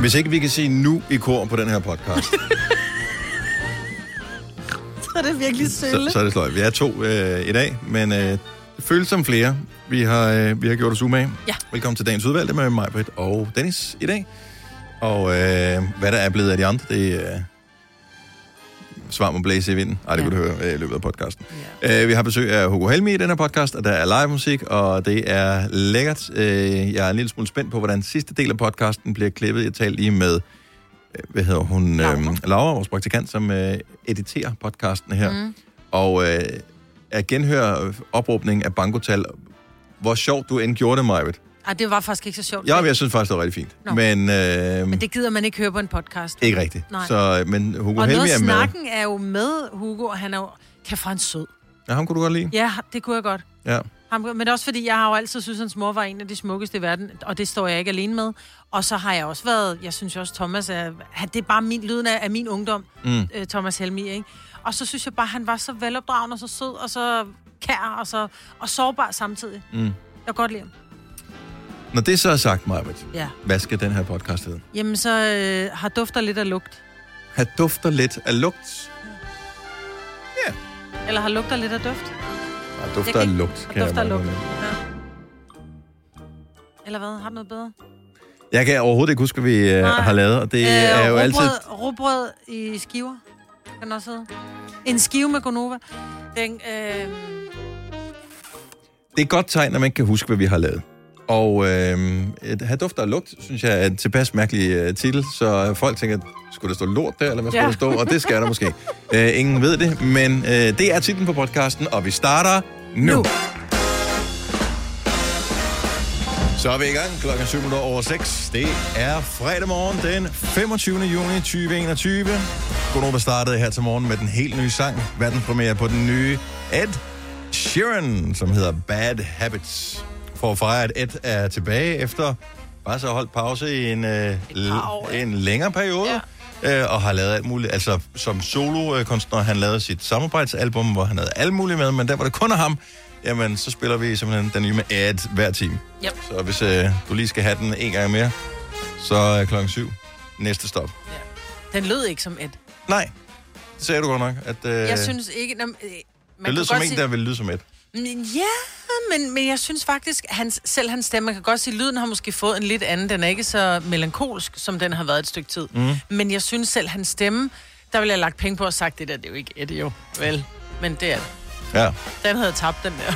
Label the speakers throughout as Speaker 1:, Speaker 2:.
Speaker 1: Hvis ikke vi kan sige nu i kor på den her podcast,
Speaker 2: Så er det virkelig sølle.
Speaker 1: så, så er det sløjt. Vi er to øh, i dag, men øh, det føles som flere. Vi har, øh, vi har gjort os umage.
Speaker 2: Ja.
Speaker 1: Velkommen til dagens udvalgte med mig, Britt og Dennis i dag. Og øh, hvad der er blevet af de andre, det øh, svar må blæse i vinden. Ej, det
Speaker 2: Ja.
Speaker 1: ja. kunne du høre øh, i løbet af podcasten.
Speaker 2: Ja.
Speaker 1: Øh, vi har besøg af Hugo Helmi i den her podcast, og der er live musik, og det er lækkert. Øh, jeg er en lille smule spændt på, hvordan sidste del af podcasten bliver klippet. Jeg talte lige med, øh, hvad hedder hun?
Speaker 2: Laura.
Speaker 1: Øhm, Laura, vores praktikant, som øh, editerer podcasten her. Mm. Og øh, at genhøre opråbningen af bankotal. Hvor sjovt du end gjorde det, Majved.
Speaker 2: Ej, det var faktisk ikke så sjovt.
Speaker 1: Ja, men jeg synes faktisk, det var rigtig fint.
Speaker 2: Nå.
Speaker 1: Men, øh,
Speaker 2: Men det gider man ikke høre på en podcast.
Speaker 1: ikke rigtigt.
Speaker 2: Nej.
Speaker 1: Så, øh, men Hugo
Speaker 2: Og
Speaker 1: Helmi
Speaker 2: noget
Speaker 1: er
Speaker 2: af
Speaker 1: med.
Speaker 2: snakken er jo med Hugo, og han er jo... Kæft, for han er sød.
Speaker 1: Ja, ham kunne du godt lide.
Speaker 2: Ja, det kunne jeg godt.
Speaker 1: Ja.
Speaker 2: Ham, men også fordi, jeg har jo altid synes hans mor var en af de smukkeste i verden, og det står jeg ikke alene med. Og så har jeg også været, jeg synes jo også, Thomas er, han, det er bare min, lyden af, af min ungdom, mm. øh, Thomas Helmi, ikke? Og så synes jeg bare, han var så velopdragen og så sød og så kær og, så, og sårbar samtidig. Mm. Jeg kan godt lide ham.
Speaker 1: Når det så er sagt, Majbet,
Speaker 2: Ja.
Speaker 1: hvad skal den her podcast hedde?
Speaker 2: Jamen, så øh, har dufter lidt af lugt.
Speaker 1: Han dufter lidt af lugt.
Speaker 2: Eller har lugter lidt af duft.
Speaker 1: Og
Speaker 2: Jeg
Speaker 1: dufter
Speaker 2: kan
Speaker 1: af
Speaker 2: ikke-
Speaker 1: lugt, kan jeg,
Speaker 2: Dufter af
Speaker 1: meget
Speaker 2: lugt.
Speaker 1: godt lide.
Speaker 2: Ja. Eller hvad? Har du noget bedre?
Speaker 1: jeg kan overhovedet ikke huske, hvad vi øh,
Speaker 2: Nej.
Speaker 1: har lavet, og det øh, er jo
Speaker 2: rugbrød,
Speaker 1: altid...
Speaker 2: Rugbrød i skiver. Kan den også hedde. En skive med gonova. Den, øh,
Speaker 1: Det er et godt tegn, når man ikke kan huske, hvad vi har lavet. Og øh, et have dufter og lugt, synes jeg er en tilpas mærkelig øh, titel, så folk tænker, skulle der stå lort der, eller hvad skulle
Speaker 2: Ja.
Speaker 1: der stå? Og det skal der måske. Øh, ingen ved det, men øh, det er titlen på podcasten, og vi starter nu. nu.
Speaker 2: Nu.
Speaker 1: Så er vi i gang. Klokken er 7 minutter over 6. Det er fredag morgen den 25. juni 2021. Godnova startede her til morgen med den helt nye sang. Verdenspremiere på den nye Ed Sheeran, som hedder Bad Habits. For at fejre, at Ed er tilbage efter bare så holdt pause i en, øh,
Speaker 2: par år,
Speaker 1: l- en længere periode. Ja. Øh, og har lavet alt muligt. Altså som solokunstner, han lavede sit samarbejdsalbum, hvor han havde alt muligt med, men der var det kun af ham. Jamen, så spiller vi simpelthen den nye med Ed hver time.
Speaker 2: Yep.
Speaker 1: Så hvis øh, du lige skal have den en gang mere, så er klokken syv. Næste stop.
Speaker 2: den lød ikke som et.
Speaker 1: Nej, det sagde du godt nok. At, øh,
Speaker 2: Jeg synes ikke... Nå, men, øh, man
Speaker 1: det lyder
Speaker 2: kan
Speaker 1: som
Speaker 2: godt
Speaker 1: en, der vil lyde som et.
Speaker 2: Men Ja, men, men jeg synes faktisk, hans, selv hans stemme, man kan godt sige, at lyden har måske fået en lidt anden. Den er ikke så melankolsk, som den har været et stykke tid. Mm. Men jeg synes selv, hans stemme, der ville jeg have lagt penge på og sagt, det der, det er jo ikke et, jo. Vel, men det er det.
Speaker 1: Ja.
Speaker 2: Den havde tabt, den der.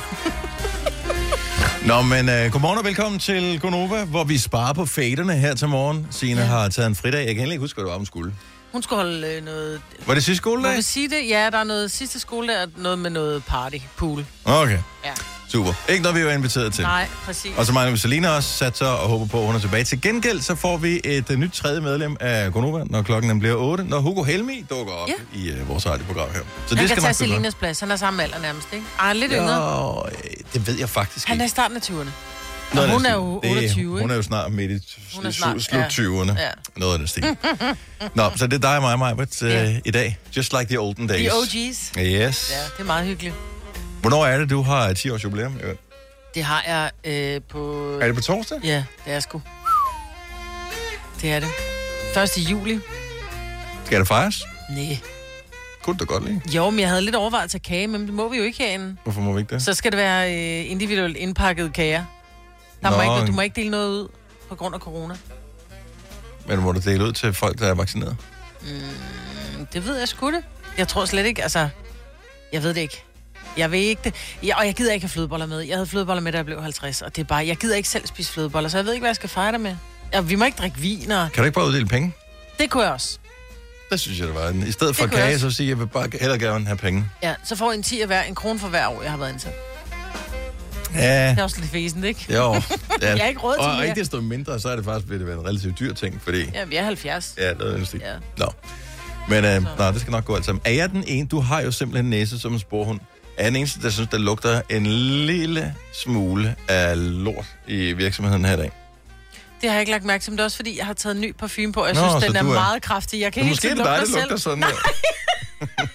Speaker 1: Nå, men øh, godmorgen og velkommen til Gonova, hvor vi sparer på faderne her til morgen. Signe ja. har taget en fridag. Jeg kan heller ikke huske, hvad det var, hun skulle.
Speaker 2: Hun skulle holde øh, noget...
Speaker 1: Var det sidste
Speaker 2: Må
Speaker 1: skoledag?
Speaker 2: vi sige det? Ja, der er noget sidste skole, der er noget med noget party, pool.
Speaker 1: Okay,
Speaker 2: Ja.
Speaker 1: super. Ikke noget, vi var inviteret til.
Speaker 2: Nej, præcis.
Speaker 1: Og så mangler vi Selina også, sat sig og håber på, at hun er tilbage. Til gengæld så får vi et uh, nyt tredje medlem af Gonova, når klokken den bliver 8, når Hugo Helmi dukker op ja.
Speaker 2: Ja.
Speaker 1: i uh, vores radioprogram her. Så
Speaker 2: Han
Speaker 1: det
Speaker 2: kan
Speaker 1: skal
Speaker 2: tage
Speaker 1: nok blive godt.
Speaker 2: Selinas plads. Han er samme alder nærmest, ikke? Ej, han er lidt ja. yngre.
Speaker 1: Nå, øh, det ved jeg faktisk
Speaker 2: Han er i
Speaker 1: ikke.
Speaker 2: starten af 20'erne.
Speaker 1: Noget
Speaker 2: Og
Speaker 1: af
Speaker 2: hun
Speaker 1: den
Speaker 2: er
Speaker 1: stil.
Speaker 2: jo 28,
Speaker 1: Det- Hun
Speaker 2: ikke?
Speaker 1: er jo snart midt i
Speaker 2: Hun er
Speaker 1: slut
Speaker 2: snart-
Speaker 1: slut
Speaker 2: ja.
Speaker 1: 20'erne.
Speaker 2: Ja. Mm.
Speaker 1: Noget af den stil. Nå, så det er dig og mig, mig, but, uh,
Speaker 2: Ja.
Speaker 1: i dag. Just like the olden days.
Speaker 2: De OG's.
Speaker 1: Yes.
Speaker 2: Ja, det er meget hyggeligt.
Speaker 1: Hvornår er det, du har 10 års jubilæum? i øvrigt?
Speaker 2: Det har jeg øh, på...
Speaker 1: Er det på torsdag?
Speaker 2: Ja, det er jeg sgu. Det er det. 1. juli.
Speaker 1: Skal det fejres?
Speaker 2: Nej.
Speaker 1: Kunne du da godt lide.
Speaker 2: Jo, men jeg havde lidt overvejet at tage kage, men det må vi jo ikke herinde.
Speaker 1: Hvorfor må vi ikke det?
Speaker 2: Så skal det være øh, individuelt indpakket kager. Der
Speaker 1: Nå.
Speaker 2: må ikke, du må ikke dele noget ud på grund af corona.
Speaker 1: Men må du dele ud til folk, der er vaccineret?
Speaker 2: Mm, Det ved jeg sgu det. Jeg tror slet ikke, altså... Jeg ved det ikke. Jeg ved ikke det. Ja, og jeg gider ikke have flødeboller med. Jeg havde flødeboller med, da jeg blev 50, og det er bare... Jeg gider ikke selv spise flødeboller, så jeg ved ikke, hvad jeg skal fejre det med. Ja, vi må ikke drikke vin, og...
Speaker 1: Kan du ikke bare uddele penge?
Speaker 2: Det kunne jeg også.
Speaker 1: Det synes jeg, det var. en- I stedet for
Speaker 2: Det kunne jeg
Speaker 1: kage,
Speaker 2: også.
Speaker 1: så siger jeg, jeg vil bare hellere gerne have penge.
Speaker 2: Ja, så får jeg en 10 af hver, en krone for hver år, jeg har været ansat.
Speaker 1: Ja.
Speaker 2: Det er også lidt væsentligt, ikke?
Speaker 1: Jo. Ja.
Speaker 2: Jeg har ikke råd til
Speaker 1: Og
Speaker 2: mere.
Speaker 1: ikke desto mindre, så er det faktisk blevet det være en relativt dyr ting, fordi...
Speaker 2: Ja, vi er 70.
Speaker 1: Ja, noget af den stil.
Speaker 2: Ja.
Speaker 1: Nå. Men øh, nej, det skal nok gå alt sammen. Er jeg den ene? Du har jo simpelthen næse som en sporhund. Er jeg den eneste, der synes, der lugter en lille smule af lort i virksomheden her i dag?
Speaker 2: Det har jeg ikke lagt mærke til, men det er også fordi, jeg har taget en ny parfume på, og jeg
Speaker 1: Nå,
Speaker 2: Nå, synes,
Speaker 1: så
Speaker 2: den er,
Speaker 1: du er-
Speaker 2: meget kraftig. Jeg kan ikke
Speaker 1: Men måske er
Speaker 2: selv
Speaker 1: det
Speaker 2: lugte mig
Speaker 1: dig, der
Speaker 2: selv.
Speaker 1: lugter sådan her.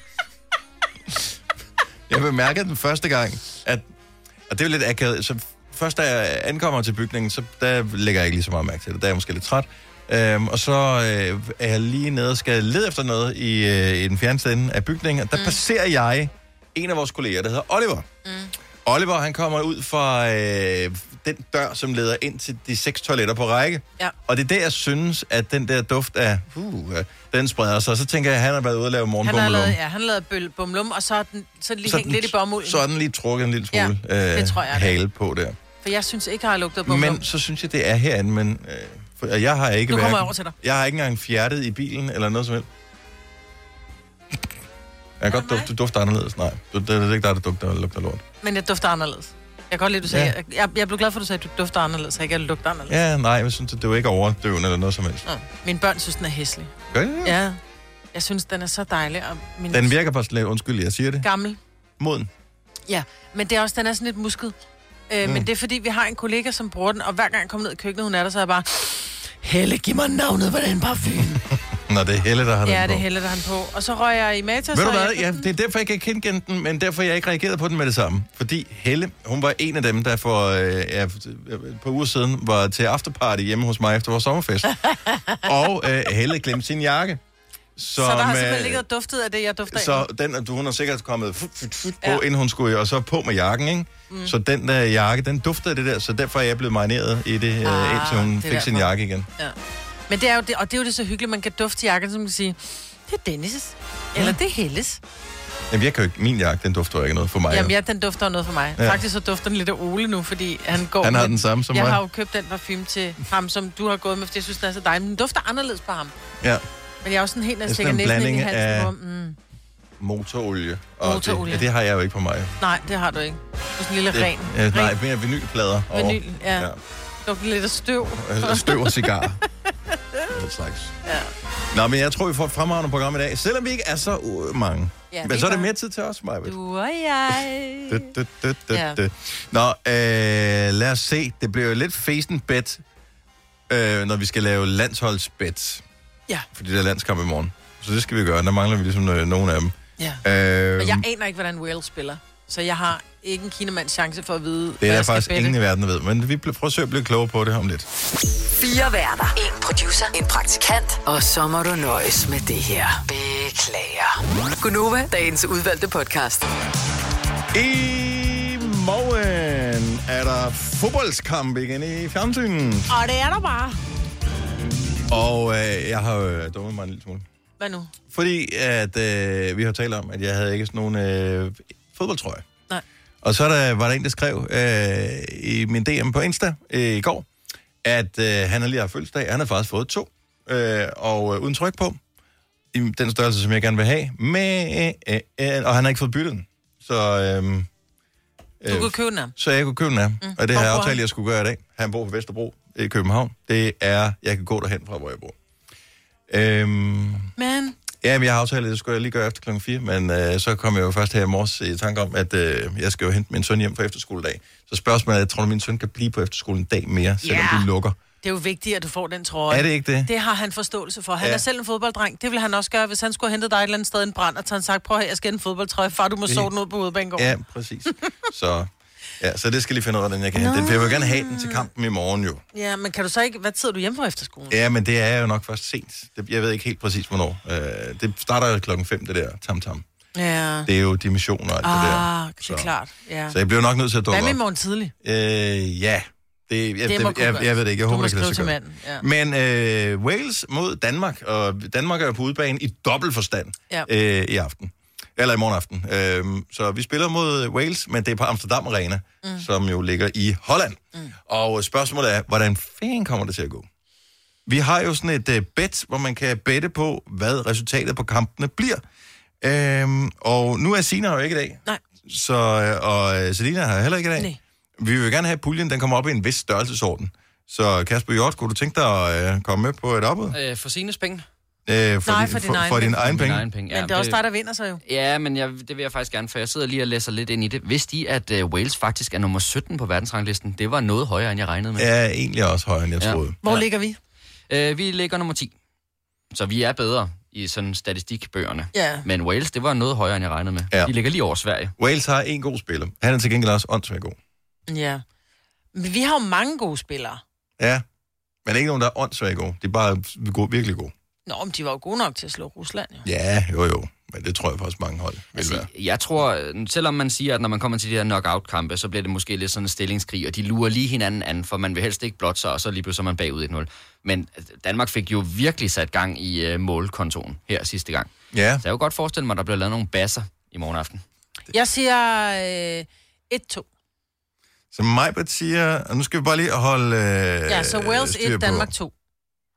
Speaker 1: jeg bemærkede den første gang, at, og det er jo lidt akavet, så først da jeg ankommer til bygningen, så der lægger jeg ikke lige så meget mærke til det, der er jeg måske lidt træt. Øhm, og så øh, er jeg lige nede og skal lede efter noget i, øh, i den fjerneste ende af bygningen. Og der mm. passerer jeg en af vores kolleger, der hedder Oliver. Mm. Oliver, han kommer ud fra øh, den dør, som leder ind til de seks toiletter på række.
Speaker 2: Ja.
Speaker 1: Og det er der, jeg synes, at den der duft af, uh, øh, den spreder sig. Så tænker jeg, at han har været ude og lave
Speaker 2: Han har
Speaker 1: morgenbummelum.
Speaker 2: lavet, ja, han har lavet bøl, bumlum, og så er den, så er den lige hængt lidt i bomulden.
Speaker 1: så er den lige trukket en lille smule
Speaker 2: Ja,
Speaker 1: ja,
Speaker 2: det
Speaker 1: øh,
Speaker 2: tror jeg, det er.
Speaker 1: hale på der.
Speaker 2: For jeg synes ikke, jeg har lugtet bomlum.
Speaker 1: Men så synes jeg, det er herinde, men øh, for, og jeg har ikke
Speaker 2: Nu kommer jeg
Speaker 1: hverken-
Speaker 2: over til dig.
Speaker 1: Jeg har ikke engang fjertet i bilen eller noget som helst. Jeg kan godt dufte, du dufter anderledes. Nej, du, det, det er ikke dig, der dufter, der lugter lort.
Speaker 2: Men jeg dufter anderledes. Jeg kan godt lide, du sagde.
Speaker 1: Ja.
Speaker 2: Jeg, jeg, jeg blev glad for, at du sagde, at du dufter anderledes, og ikke at jeg lugter anderledes.
Speaker 1: Ja, nej, jeg synes, det, det er jo ikke overdøvende eller noget som helst.
Speaker 2: Ja. Mine børn synes, den er hæslig.
Speaker 1: Gør det det?
Speaker 2: Ja. Jeg synes, den er så dejlig. Og min
Speaker 1: Hmm. Den virker bare slet, undskyld, jeg siger det,
Speaker 2: gammel.
Speaker 1: moden.
Speaker 2: Ja, men det er også, den er sådan lidt musket. Øh,
Speaker 1: Hmm.
Speaker 2: Men det er fordi, vi har en kollega, som bruger den, og hver gang jeg kommer ned i køkkenet, hun er der, så er jeg bare... Helle, giv mig navnet på den parfume.
Speaker 1: Nå, det er Helle, der har
Speaker 2: ja,
Speaker 1: den
Speaker 2: det
Speaker 1: på.
Speaker 2: er Helle, der er han på. Og så røg jeg i Matas.
Speaker 1: Ved du
Speaker 2: og
Speaker 1: hvad?
Speaker 2: jeg-
Speaker 1: Ja, det er derfor, jeg kan kendkende den, men derfor, jeg ikke reagerede på den med det samme. Fordi Helle, hun var en af dem, der for øh, ja, et par uger siden var til afterparty hjemme hos mig efter vores sommerfest. og øh, Helle glemte sin jakke.
Speaker 2: Så der har
Speaker 1: øh,
Speaker 2: simpelthen ligget og duftet af det, jeg dufter
Speaker 1: så
Speaker 2: så...
Speaker 1: den, du, hun har sikkert kommet fut, fut, fut på,
Speaker 2: Ja.
Speaker 1: ja. inden hun skulle, og så på med jakken, ikke? Mm. Så den der jakke, den duftede af det der, så derfor er jeg blevet marineret i det,
Speaker 2: Ah,
Speaker 1: ah, indtil hun
Speaker 2: det er
Speaker 1: fik sin
Speaker 2: derfor.
Speaker 1: jakke igen.
Speaker 2: ja. Men det er jo det, og det er jo det så hyggeligt, man kan dufte jakken, som man kan sige, det er Dennis' eller det er Helles.
Speaker 1: Jamen, jeg kan jo ikke, min jakke, den dufter jo ikke noget for mig.
Speaker 2: Jamen ja, den dufter jo noget for mig. Ja.
Speaker 1: Ja.
Speaker 2: Faktisk så dufter den lidt af Ole nu, fordi han går...
Speaker 1: Han har
Speaker 2: med-
Speaker 1: den samme som
Speaker 2: jeg
Speaker 1: mig.
Speaker 2: har jo købt den parfume til ham, som du har gået med, fordi jeg synes, den er så dejlig. Men den dufter anderledes på ham.
Speaker 1: ja.
Speaker 2: Men jeg er også sådan helt, når jeg
Speaker 1: Det er
Speaker 2: stikker
Speaker 1: sådan en
Speaker 2: næsen ind i
Speaker 1: blanding
Speaker 2: halsen.
Speaker 1: af-
Speaker 2: Af... Mm,
Speaker 1: Motorolie. Og
Speaker 2: Motorolie.
Speaker 1: Det, ja, det har jeg jo ikke på mig.
Speaker 2: nej, det har du ikke. Du er sådan en lille
Speaker 1: Det-
Speaker 2: ren.
Speaker 1: Øh, nej,
Speaker 2: ren
Speaker 1: mere vinylplader. over.
Speaker 2: Vinyl, ja. ja. Dufter lidt af støv.
Speaker 1: ja. Altså, Støv og cigar. Den slags.
Speaker 2: Ja.
Speaker 1: Nå, men jeg tror, vi får et fremragende program i dag, selvom vi ikke er så uh, mange.
Speaker 2: Ja,
Speaker 1: Ja, men
Speaker 2: det
Speaker 1: så er det
Speaker 2: gør-
Speaker 1: mere tid til os, Maja.
Speaker 2: Du og jeg. Ja.
Speaker 1: Nå, øh, lad os se. Det bliver jo lidt fesen bet, øh, når vi skal lave landsholdsbet,
Speaker 2: Ja,
Speaker 1: fordi der er landskamp i morgen. Så det skal vi gøre. Der mangler vi ligesom øh, nogen af dem.
Speaker 2: ja.
Speaker 1: Øh,
Speaker 2: Og jeg aner ikke, hvordan Wales spiller. Så jeg har ikke en kinamands chance for at vide,
Speaker 1: det er der
Speaker 2: jeg skal
Speaker 1: faktisk
Speaker 2: bette.
Speaker 1: ingen i verden, der ved. Men vi bl- prøver at søge at blive klogere på det om lidt.
Speaker 3: Fire værter. En producer. En praktikant. Og så må du nøjes med det her. Beklager. Gunova, dagens udvalgte podcast.
Speaker 1: I morgen er der fodboldskamp igen i fjernsynet.
Speaker 2: Og det er der bare.
Speaker 1: Og øh, jeg har øh, dummet mig en lille smule.
Speaker 2: Hvad nu?
Speaker 1: Fordi at, øh, vi har talt om, at jeg havde ikke sådan nogen øh, fodboldtrøje.
Speaker 2: Nej.
Speaker 1: Og så er der, var der en, der skrev øh, i min DM på Insta øh, i går, at øh, han har lige haft fødselsdag. Han har faktisk fået to, øh, og øh, uden tryk på, i den størrelse, som jeg gerne vil have. Men, øh, øh, og han har ikke fået byttet den. Så, øh,
Speaker 2: Du kunne købe den af.
Speaker 1: så jeg kunne købe den af. Mm. Og det
Speaker 2: Hvor
Speaker 1: har jeg
Speaker 2: bor
Speaker 1: aftalt,
Speaker 2: han?
Speaker 1: jeg skulle gøre i dag. Han bor på Vesterbro i København. Det er, jeg kan gå derhen fra, hvor jeg bor. Øhm,
Speaker 2: Men
Speaker 1: ja, men jeg har aftalt, at det skulle jeg lige gøre efter klokken 4, men øh, så kom jeg jo først her i morges i tanke om, at øh, jeg skal jo hente min søn hjem på efterskoledag. Så spørgsmålet er, tror du, min søn kan blive på efterskolen en dag mere, selvom
Speaker 2: Ja.
Speaker 1: yeah. du lukker?
Speaker 2: det er jo vigtigt, at du får den trøje.
Speaker 1: Er det ikke det?
Speaker 2: Det har han forståelse for. Han
Speaker 1: Ja.
Speaker 2: ja. er selv en fodbolddreng. Det vil han også gøre, hvis han skulle hente dig et eller andet sted i en brand, og tage en sagt, prøv at høre, jeg skal have en fodboldtrøje. Far, du må
Speaker 1: Det-
Speaker 2: sove den ud på hovedbanegården.
Speaker 1: Ja, præcis. så, ja, så det skal lige finde ud af, hvordan jeg kan hente den. For jeg vil gerne have den til kampen i morgen jo.
Speaker 2: ja. men kan du så ikke... Hvad sidder du hjemme på efter skolen?
Speaker 1: Ja, men det er jo nok først sent. Det, jeg ved ikke helt præcis, hvornår. Øh, det starter jo klokken 5, det der tam-tam.
Speaker 2: Ja.
Speaker 1: Det er jo dimensioner og alt det der.
Speaker 2: Ah, det
Speaker 1: Så-
Speaker 2: er klart. Ja.
Speaker 1: Så jeg bliver nok nødt til at dukke
Speaker 2: Hvad med
Speaker 1: op.
Speaker 2: i morgen tidlig?
Speaker 1: Øh, ja. Det, jeg, det,
Speaker 2: må kunne
Speaker 1: jeg,
Speaker 2: gøres.
Speaker 1: jeg, ved det ikke. Jeg
Speaker 2: Du
Speaker 1: håber,
Speaker 2: må
Speaker 1: det kan lade
Speaker 2: skrive
Speaker 1: sig
Speaker 2: til
Speaker 1: gøre. Men øh, Wales mod Danmark, og Danmark er jo på udebane i dobbelt forstand
Speaker 2: Ja.
Speaker 1: øh, i aften. Eller i morgen aften. Øh, så vi spiller mod Wales, men det er på Amsterdam Arena, mm. som jo ligger i Holland. Mm. Og spørgsmålet er, hvordan fanden kommer det til at gå? Vi har jo sådan et øh, bet, hvor man kan bette på, hvad resultatet på kampene bliver. Øhm, og nu er Sina jo ikke i dag.
Speaker 2: Nej.
Speaker 1: Så, øh, og øh, Selina har heller ikke i dag.
Speaker 2: Nej.
Speaker 1: Vi vil jo gerne have, at puljen den kommer op i en vis størrelsesorden. Så Kasper Hjort, kunne du tænke dig at øh, komme med på et opbud?
Speaker 4: Øh, for sine penge.
Speaker 1: Øh,
Speaker 2: Nej,
Speaker 1: din-
Speaker 2: for din egen
Speaker 1: for din
Speaker 2: penge.
Speaker 1: egen
Speaker 4: Mine
Speaker 1: penge.
Speaker 4: egne penge.
Speaker 2: Men det er også dig, der vinder sig jo.
Speaker 4: Ja, men jeg, det vil jeg faktisk gerne, for jeg sidder lige og læser lidt ind i det. Vidste I, at uh, Wales faktisk er nummer 17 på verdensranglisten? Det var noget højere, end jeg regnede med.
Speaker 1: Er egentlig også højere, end jeg
Speaker 4: Ja.
Speaker 1: troede.
Speaker 2: Hvor
Speaker 4: Ja.
Speaker 2: ligger vi?
Speaker 4: Ja. Uh, vi ligger nummer 10. Så vi er bedre i sådan statistikbøgerne.
Speaker 2: Ja.
Speaker 4: Men Wales, det var noget højere, end jeg regnede med.
Speaker 1: Ja.
Speaker 4: De ligger lige over Sverige.
Speaker 1: Wales har en god spiller. Han er til gengæld også åndssvagt god.
Speaker 2: Ja. Men vi har jo mange gode spillere.
Speaker 1: Ja. Men ikke nogen, der er åndssvagt gode. De er bare gode, virkelig gode.
Speaker 2: Nå, men de var jo gode nok til at slå Rusland, jo.
Speaker 1: Ja, jo jo. Men det tror jeg faktisk mange hold vil altså, være.
Speaker 4: Jeg tror, øh, selvom man siger, at når man kommer til de her knockout-kampe, så bliver det måske lidt sådan en stillingskrig, og de lurer lige hinanden an, for man vil helst ikke blot sig, og så lige pludselig er man bagud 1-0. Men øh, Danmark fik jo virkelig sat gang i øh, målkontoen her sidste gang.
Speaker 1: Ja,
Speaker 4: Så jeg kunne godt forestille mig, at der bliver lavet nogle basser i morgen aften.
Speaker 2: Jeg siger øh, 1-2.
Speaker 1: så Majbert siger... Og nu skal vi bare lige holde øh,
Speaker 2: Ja, så Wales
Speaker 1: styr
Speaker 2: 1,
Speaker 1: på-
Speaker 2: Danmark 2.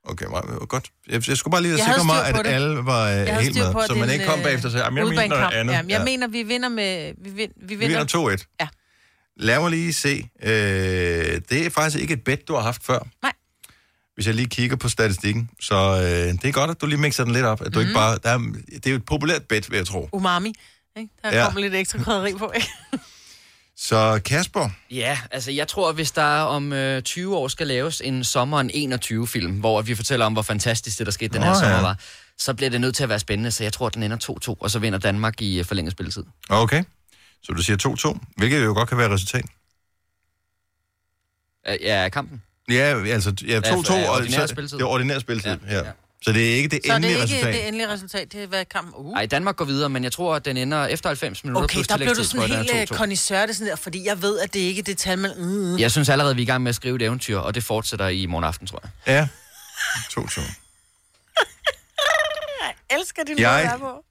Speaker 1: Okay, meget godt. Jeg, jeg skulle bare lige
Speaker 2: Jeg havde
Speaker 1: sikre mig,
Speaker 2: styr på
Speaker 1: at
Speaker 2: det.
Speaker 1: alle var øh,
Speaker 2: Jeg havde
Speaker 1: helt
Speaker 2: styr
Speaker 1: med,
Speaker 2: på, at
Speaker 1: så
Speaker 2: det er
Speaker 1: man
Speaker 2: en,
Speaker 1: ikke kom
Speaker 2: øh,
Speaker 1: bagefter og sagde, "Jamen, jeg mener
Speaker 2: Udbanekamp.
Speaker 1: noget andet.
Speaker 2: Jamen, jeg
Speaker 1: Ja.
Speaker 2: mener, vi vinder med... Vi, vind, vi
Speaker 1: Vi
Speaker 2: vinder.
Speaker 1: vinder 2-1.
Speaker 2: Ja.
Speaker 1: Lad mig lige se. Øh, det er faktisk ikke et bet, du har haft før.
Speaker 2: Nej.
Speaker 1: Hvis jeg lige kigger på statistikken. Så øh, det er godt, at du lige mixer den lidt op. At du mm.
Speaker 2: Mhm.
Speaker 1: ikke bare, der er, det er jo et populært bet, vil jeg tro.
Speaker 2: Umami. Ikke? Der
Speaker 1: Ja.
Speaker 2: ja. kommer lidt ekstra krydderi på, ikke?
Speaker 1: Så Kasper,
Speaker 4: Ja, altså jeg tror, hvis der om øh, 20 år skal laves en sommeren 21-film, hvor vi fortæller om, hvor fantastisk det, der skete den
Speaker 1: Nå,
Speaker 4: her
Speaker 1: ja.
Speaker 4: sommer var, så bliver det nødt til at være spændende, så jeg tror, at den ender 2-2, og så vinder Danmark i øh, forlænget spilletid.
Speaker 1: okay. Så du siger 2-2, hvilket jo godt kan være et resultat.
Speaker 4: Øh, Ja, kampen.
Speaker 1: Ja, altså ja, 2-2.
Speaker 4: øh,
Speaker 1: og
Speaker 4: ordinær
Speaker 1: så-
Speaker 4: spilletid.
Speaker 1: Det er ordinær spilletid, ja.
Speaker 4: Ja,
Speaker 1: ja.
Speaker 4: ja.
Speaker 1: Så det er ikke det
Speaker 2: Så er det
Speaker 1: endelige
Speaker 2: ikke
Speaker 1: resultat.
Speaker 2: det endelige resultat. Det er hvad kampen... Uh.
Speaker 4: Nej, Danmark går videre, men jeg tror, at den ender efter 90 minutter
Speaker 2: Okay,
Speaker 4: plus
Speaker 2: der blev du
Speaker 4: tillægstid,
Speaker 2: sådan
Speaker 4: tror jeg,
Speaker 2: helt
Speaker 4: den er
Speaker 2: øh,
Speaker 4: 2-2.
Speaker 2: connoisseur, det sådan der, fordi jeg ved, at det ikke er det tal, man... Mm.
Speaker 4: Jeg synes allerede, vi er i gang med at skrive et eventyr, og det fortsætter i morgen aften, tror jeg.
Speaker 1: Ja, 2-2.
Speaker 2: Jeg elsker din måde at være
Speaker 1: Jeg
Speaker 2: på.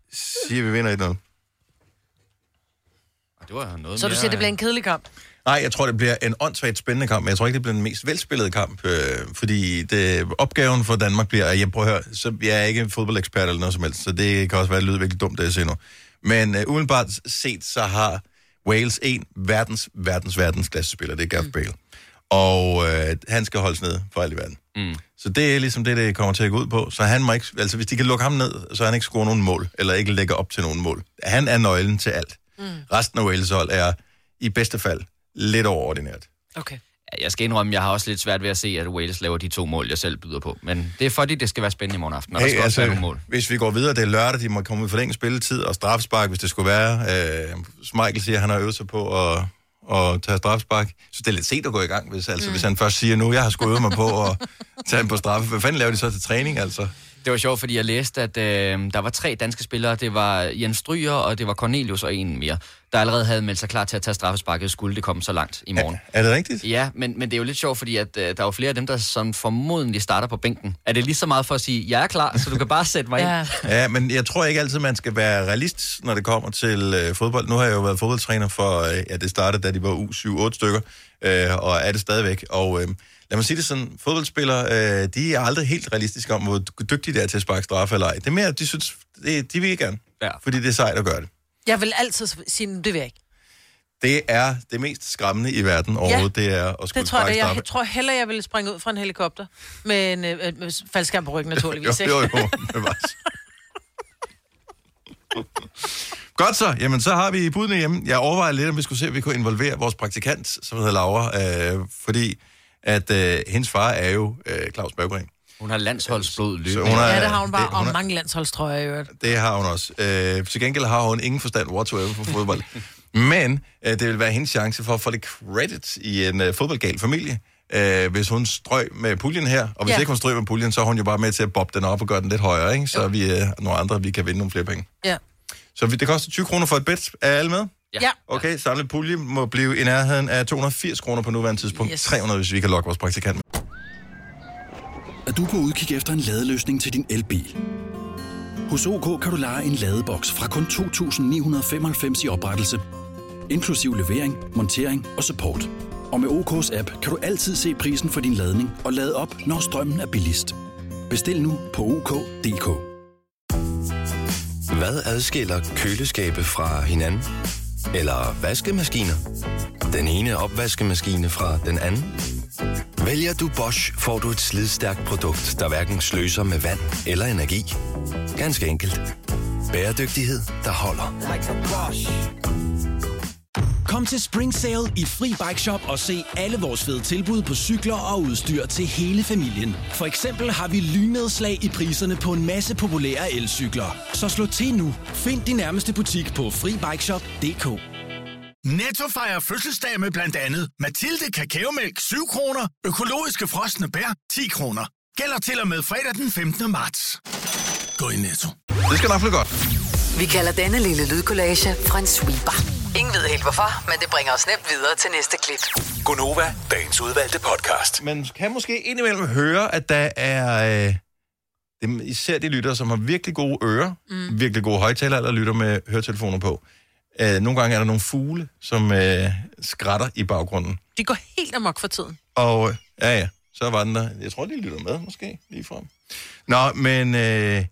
Speaker 1: siger, vi vinder 1-0.
Speaker 4: Og det var noget
Speaker 2: Så du
Speaker 4: mere,
Speaker 2: siger, det bliver en kedelig kamp?
Speaker 1: Nej, jeg tror, det bliver en åndssvagt spændende kamp, men jeg tror ikke, det bliver den mest velspillede kamp, øh, fordi det, opgaven for Danmark bliver, at jeg prøver at høre, så jeg er ikke en fodboldekspert eller noget som helst, så det kan også være, at det lyder virkelig dumt, det jeg siger nu. Men øh, udenbart set, så har Wales en verdens, verdens, verdens klassespiller, det er Gareth Bale. Og øh, han skal holdes nede for alt i verden. Mm. Så det er ligesom det, det kommer til at gå ud på. Så han må ikke, altså hvis de kan lukke ham ned, så han ikke scorer nogen mål, eller ikke lægger op til nogen mål. Han er nøglen til alt. Mm. Resten af Wales hold er i bedste fald lidt overordinært.
Speaker 2: Okay.
Speaker 4: Ja, Jeg skal indrømme, jeg har også lidt svært ved at se, at Wales laver de to mål, jeg selv byder på. Men det er fordi, det skal være spændende i morgen aften, og hey, der skal altså... også være nogle mål.
Speaker 1: hvis vi går videre, det er lørdag, de må komme ud for længe spilletid og strafspark, hvis det skulle være. Øh, Michael siger, at han har øvet sig på at, at tage strafspark. Så det er lidt sent at gå i gang, hvis, altså, mm. hvis han først siger nu, jeg har skulle øve mig på at tage ham på straffe. Hvad fanden laver de så til træning, altså?
Speaker 4: Det var sjovt, fordi jeg læste, at øh, der var tre danske spillere. Det var Jens Stryger, og det var Cornelius og en mere, der allerede havde meldt sig klar til at tage straffesparket, skulle det komme så langt i morgen.
Speaker 1: Er det rigtigt?
Speaker 4: Ja, men, men det er jo lidt sjovt, fordi at, øh, der er jo flere af dem, der som formodentlig starter på bænken. Er det lige så meget for at sige, jeg er klar, så du kan bare sætte mig ind?
Speaker 2: Ja.
Speaker 1: Ja, men jeg tror ikke altid, man skal være realist, når det kommer til øh, fodbold. Nu har jeg jo været fodboldtræner for, øh, ja, det startede, da de var U7-8 stykker, øh, og er det stadigvæk. Og øh, lad mig sige det sådan, fodboldspillere, øh, de er aldrig helt realistiske om, hvor dygtige de er til at sparke straffe eller ej. Det er mere, de synes, det, de vil gerne,
Speaker 4: Ja.
Speaker 1: fordi det er sejt at gøre det.
Speaker 2: Jeg vil altid sige, "Nu, det vil jeg ikke.
Speaker 1: Det er det mest skræmmende i verden overhovedet, ja, det er at skulle
Speaker 2: Det tror jeg,
Speaker 1: sparke
Speaker 2: det er.
Speaker 1: straffe.
Speaker 2: jeg tror heller, jeg ville springe ud fra en helikopter med en øh, øh, faldskærm på ryggen, naturligvis.
Speaker 1: jo,
Speaker 2: ikke?
Speaker 1: jo, jo, bevares. Godt så. Jamen, så har vi budene hjemme. Jeg overvejer lidt, om vi skulle se, om vi kunne involvere vores praktikant, som hedder Laura, øh, fordi at øh, hendes far er jo øh, Claus Berggren.
Speaker 4: Hun har landsholdsblod
Speaker 1: Så
Speaker 4: løbende.
Speaker 1: hun er,
Speaker 2: Ja, det har hun bare.
Speaker 1: Det, hun
Speaker 2: Og
Speaker 1: er,
Speaker 2: mange landsholdstrøjer i øvrigt.
Speaker 1: det har hun også. Øh, til gengæld har hun ingen forstand whatsoever for fodbold. Men øh, det vil være hendes chance for at få lidt credit i en øh, fodboldgal familie. Øh, hvis hun strøg med puljen her, og hvis ja.
Speaker 2: Ja.
Speaker 1: ikke hun strøg med puljen, så er hun jo bare med til at bobbe den op og gøre den lidt højere, ikke? så vi øh, nogle andre vi kan vinde nogle flere penge.
Speaker 2: Ja.
Speaker 1: Så vi- det koster 20 kroner for et bet. Er alle med?
Speaker 2: ja.
Speaker 1: Okay, samlet pulje må blive i nærheden af 280 kroner på nuværende tidspunkt. Yes.
Speaker 2: Yes.
Speaker 1: 300, hvis vi kan lokke vores praktikant. med.
Speaker 5: at du er på udkig efter en ladeløsning til din elbil. Hos OK kan du lege en ladeboks fra kun 2.995 i oprettelse, inklusiv levering, montering og support. Og med OK's app kan du altid se prisen for din ladning og lade op, når strømmen er billigst. Bestil nu på OK.dk.
Speaker 6: Hvad adskiller køleskabe fra hinanden? Eller vaskemaskiner? Den ene opvaskemaskine fra den anden? Vælger du Bosch, får du et slidstærkt produkt, der hverken sløser med vand eller energi. Ganske enkelt. Bæredygtighed, der holder.
Speaker 7: Kom til Spring Sale i Fri Bike Shop og se alle vores fede tilbud på cykler og udstyr til hele familien. For eksempel har vi lynedslag i priserne på en masse populære elcykler. Så slå til nu. Find din nærmeste butik på FriBikeShop.dk.
Speaker 8: Netto fejrer fødselsdag med blandt andet Mathilde Kakaomælk 7 kroner, økologiske frosne bær 10 kroner. Gælder til og med fredag den 15. marts. Gå i Netto.
Speaker 1: Det skal nok blive godt.
Speaker 3: Vi kalder denne lille lydkollage en sweeper. Ingen ved helt hvorfor, men det bringer os nemt videre til næste klip.
Speaker 9: Gunova, dagens udvalgte podcast.
Speaker 1: Man kan måske indimellem høre, at der er øh, dem, især de lyttere, som har virkelig gode ører, mm. virkelig gode højtaler, eller lytter med høretelefoner på. Øh, nogle gange er der nogle fugle, som øh, skratter i baggrunden.
Speaker 2: De går helt amok for tiden.
Speaker 1: Og øh, ja, ja, så var den der. Jeg tror, de lytter med, måske, lige frem. Nå, men øh,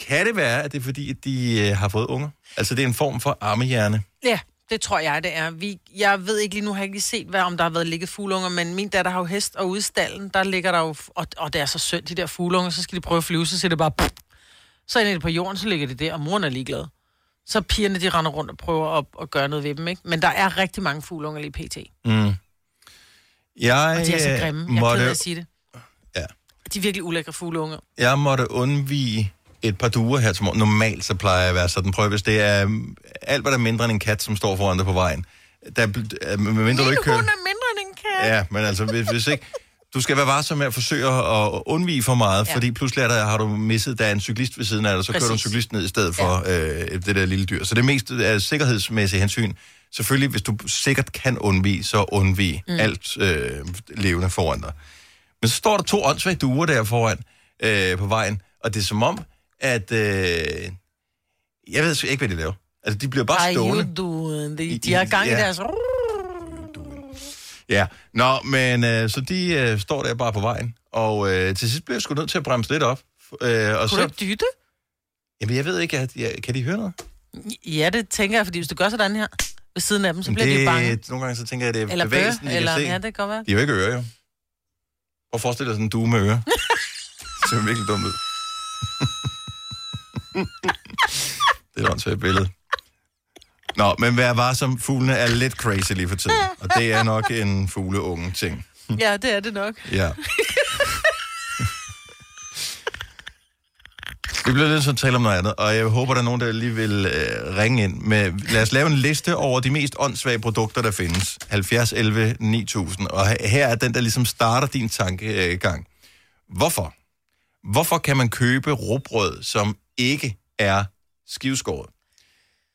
Speaker 1: kan det være, at det er fordi, at de øh, har fået unger? Altså, det er en form for armehjerne.
Speaker 2: Ja, det tror jeg, det er. Vi, jeg ved ikke lige nu, har jeg ikke lige set, hvad, om der har været ligget fugleunger, men min datter har jo hest, og ude i stallen, der ligger der jo, og, og det er så synd, de der fugleunger, så skal de prøve at flyve, så siger det bare, pff. så ender det på jorden, så ligger det der, og moren er ligeglad. Så pigerne, de render rundt og prøver at, at gøre noget ved dem, ikke? Men der er rigtig mange fugleunger lige pt.
Speaker 1: Mm. Jeg,
Speaker 2: Og de er så
Speaker 1: øh,
Speaker 2: grimme. Jeg er
Speaker 1: måtte,
Speaker 2: ked af at sige det.
Speaker 1: Ja.
Speaker 2: De er virkelig ulækre fugleunger.
Speaker 1: jeg måtte undvige et par duer her til morgen. Normalt så plejer jeg at være sådan. Prøv hvis det er øhm, alt, hvad der er mindre end en kat, som står foran dig på vejen. Der, bl- øh, medmindre du ikke kører...
Speaker 2: Hun er mindre end en kat.
Speaker 1: Ja, men altså, hvis, hvis ikke... Du skal være varsom med at forsøge at undvige for meget, ja.
Speaker 2: Ja.
Speaker 1: fordi pludselig er der, har du misset, der er en cyklist ved siden af dig, og så kører du en
Speaker 2: Præcis.
Speaker 1: cyklist ned i stedet for ja. øh, det der lille dyr. Så det meste er øh, sikkerhedsmæssige hensyn. Selvfølgelig, hvis du sikkert kan undvige, så undvige mm. alt øh, levende foran dig. Men så står der to åndssvage duer der foran øh, på vejen, og det er som om, at... Øh, jeg ved sgu ikke, hvad de laver. Altså, de bliver bare
Speaker 2: Are
Speaker 1: stående.
Speaker 2: you doing?
Speaker 1: I-
Speaker 2: De, de har gang i
Speaker 1: ja.
Speaker 2: deres...
Speaker 1: Ja, nå, men øh, så de øh, står der bare på vejen, og øh, til sidst bliver jeg sgu nødt til at bremse lidt op. Øh, og
Speaker 2: Kunne du
Speaker 1: så,
Speaker 2: ikke dytte?
Speaker 1: jamen, jeg ved ikke, at, jeg, kan de høre noget?
Speaker 2: Ja, det tænker jeg, fordi hvis du gør sådan her ved siden af dem, så bliver
Speaker 1: det,
Speaker 2: de jo bange.
Speaker 1: Nogle gange så tænker jeg, at det er
Speaker 2: Eller
Speaker 1: bevægelsen,
Speaker 2: bøger,
Speaker 1: de
Speaker 2: eller...
Speaker 1: kan se.
Speaker 2: Ja, det kan godt være.
Speaker 1: De har jo ikke ører, jo. Og forestil dig sådan en due med ører. det ser virkelig dumt ud. det er et åndssvagt billede. Nå, men vær varsom, fuglene er lidt crazy lige for tiden. Og det er nok en fugleunge ting.
Speaker 2: Ja, det er det nok.
Speaker 1: Ja. Vi bliver lidt så tale om noget andet, og jeg håber, der er nogen, der lige vil øh, ringe ind med... Lad os lave en liste over de mest åndssvage produkter, der findes. 70, 11, 9000. Og he- her er den, der ligesom starter din tankegang. Hvorfor? Hvorfor kan man købe råbrød, som ikke er skiveskåret?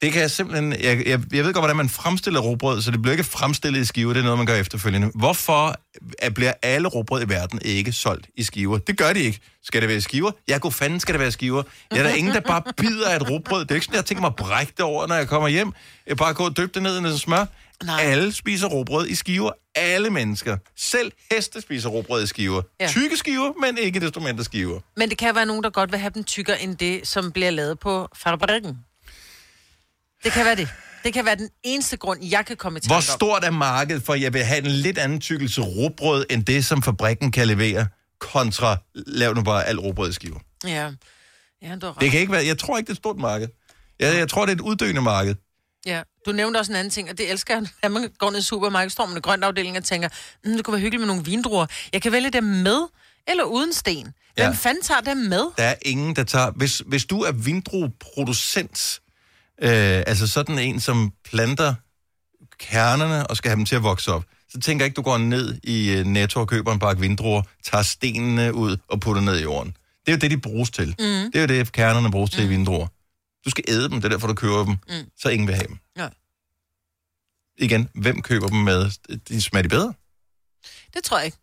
Speaker 1: Det kan jeg simpelthen... Jeg, jeg, jeg ved godt, hvordan man fremstiller råbrød, så det bliver ikke fremstillet i skiver. Det er noget, man gør efterfølgende. Hvorfor at bliver alle råbrød i verden ikke solgt i skiver? Det gør de ikke. Skal det være i skiver? Ja, god fanden skal det være i skiver. Ja, der er ingen, der bare bider af et råbrød. Det er jo ikke sådan, jeg tænker mig at brække det over, når jeg kommer hjem. Jeg bare går og dyppe det ned i noget smør. Nej.
Speaker 2: Nej.
Speaker 1: Alle spiser råbrød i skiver. Alle mennesker. Selv heste spiser råbrød i skiver. Ja.
Speaker 2: Ja.
Speaker 1: Tykke skiver, men ikke desto mindre skiver.
Speaker 2: Men det kan være nogen, der godt vil have dem tykkere end det, som bliver lavet på fabrikken. Det kan være det. Det kan være den eneste grund, jeg kan komme i tanke
Speaker 1: Hvor
Speaker 2: om.
Speaker 1: stort er markedet for, at jeg vil have en lidt anden tykkelse råbrød, end det, som fabrikken kan levere, kontra lav nu bare alt råbrød i skiver?
Speaker 2: Ja. Ja, du har ret.
Speaker 1: Det kan ikke være, jeg tror ikke, det er et stort marked. Jeg, jeg tror, det er et uddøende marked.
Speaker 2: Ja. Du nævnte også en anden ting, og det elsker jeg, at man går ned i supermarkedet, står med en grøn afdeling og tænker, mm, det kunne være hyggeligt med nogle vindruer. Jeg kan vælge dem med eller uden sten. Hvem
Speaker 1: Ja.
Speaker 2: fanden tager dem med?
Speaker 1: Der er ingen, der tager... Hvis, hvis du er vindrueproducent, øh, altså sådan en, som planter kernerne og skal have dem til at vokse op, så tænker jeg ikke, du går ned i øh, Netto og køber en pakke vindruer, tager stenene ud og putter ned i jorden. Det er jo det, de bruges til. Mm. Det er jo det, kernerne bruges mm. til i vindruer. Du skal æde dem, det er derfor, du køber dem. Mm. Så ingen vil have dem.
Speaker 2: Nej.
Speaker 1: Igen, hvem køber dem med? De smager de bedre?
Speaker 2: Det tror jeg ikke.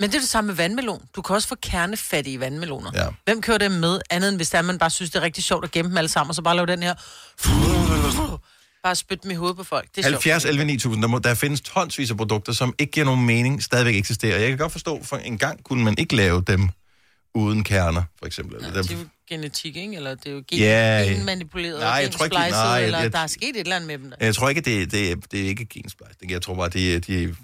Speaker 2: Men det er det samme med vandmelon. Du kan også få kernefattige vandmeloner.
Speaker 1: Ja.
Speaker 2: Hvem kører dem med, andet end hvis det er, man bare synes, det er rigtig sjovt at gemme dem alle sammen, og så bare lave den her... Bare spytte dem i hovedet på folk. Det er
Speaker 1: 70,
Speaker 2: sjovt.
Speaker 1: 11, 9000. Der, må, der findes tonsvis af produkter, som ikke giver nogen mening, stadigvæk eksisterer. Jeg kan godt forstå, for en gang kunne man ikke lave dem uden kerner, for eksempel. Ja,
Speaker 2: Det er jo genetik, ikke? Eller det er jo gen,
Speaker 1: Ja, ja.
Speaker 2: manipuleret,
Speaker 1: Nej, jeg tror ikke, de- nej,
Speaker 2: eller
Speaker 1: jeg-
Speaker 2: der er sket et eller andet med dem. Der.
Speaker 1: jeg tror ikke, det, det, det er ikke gensplejsning. Jeg tror bare, det er... De,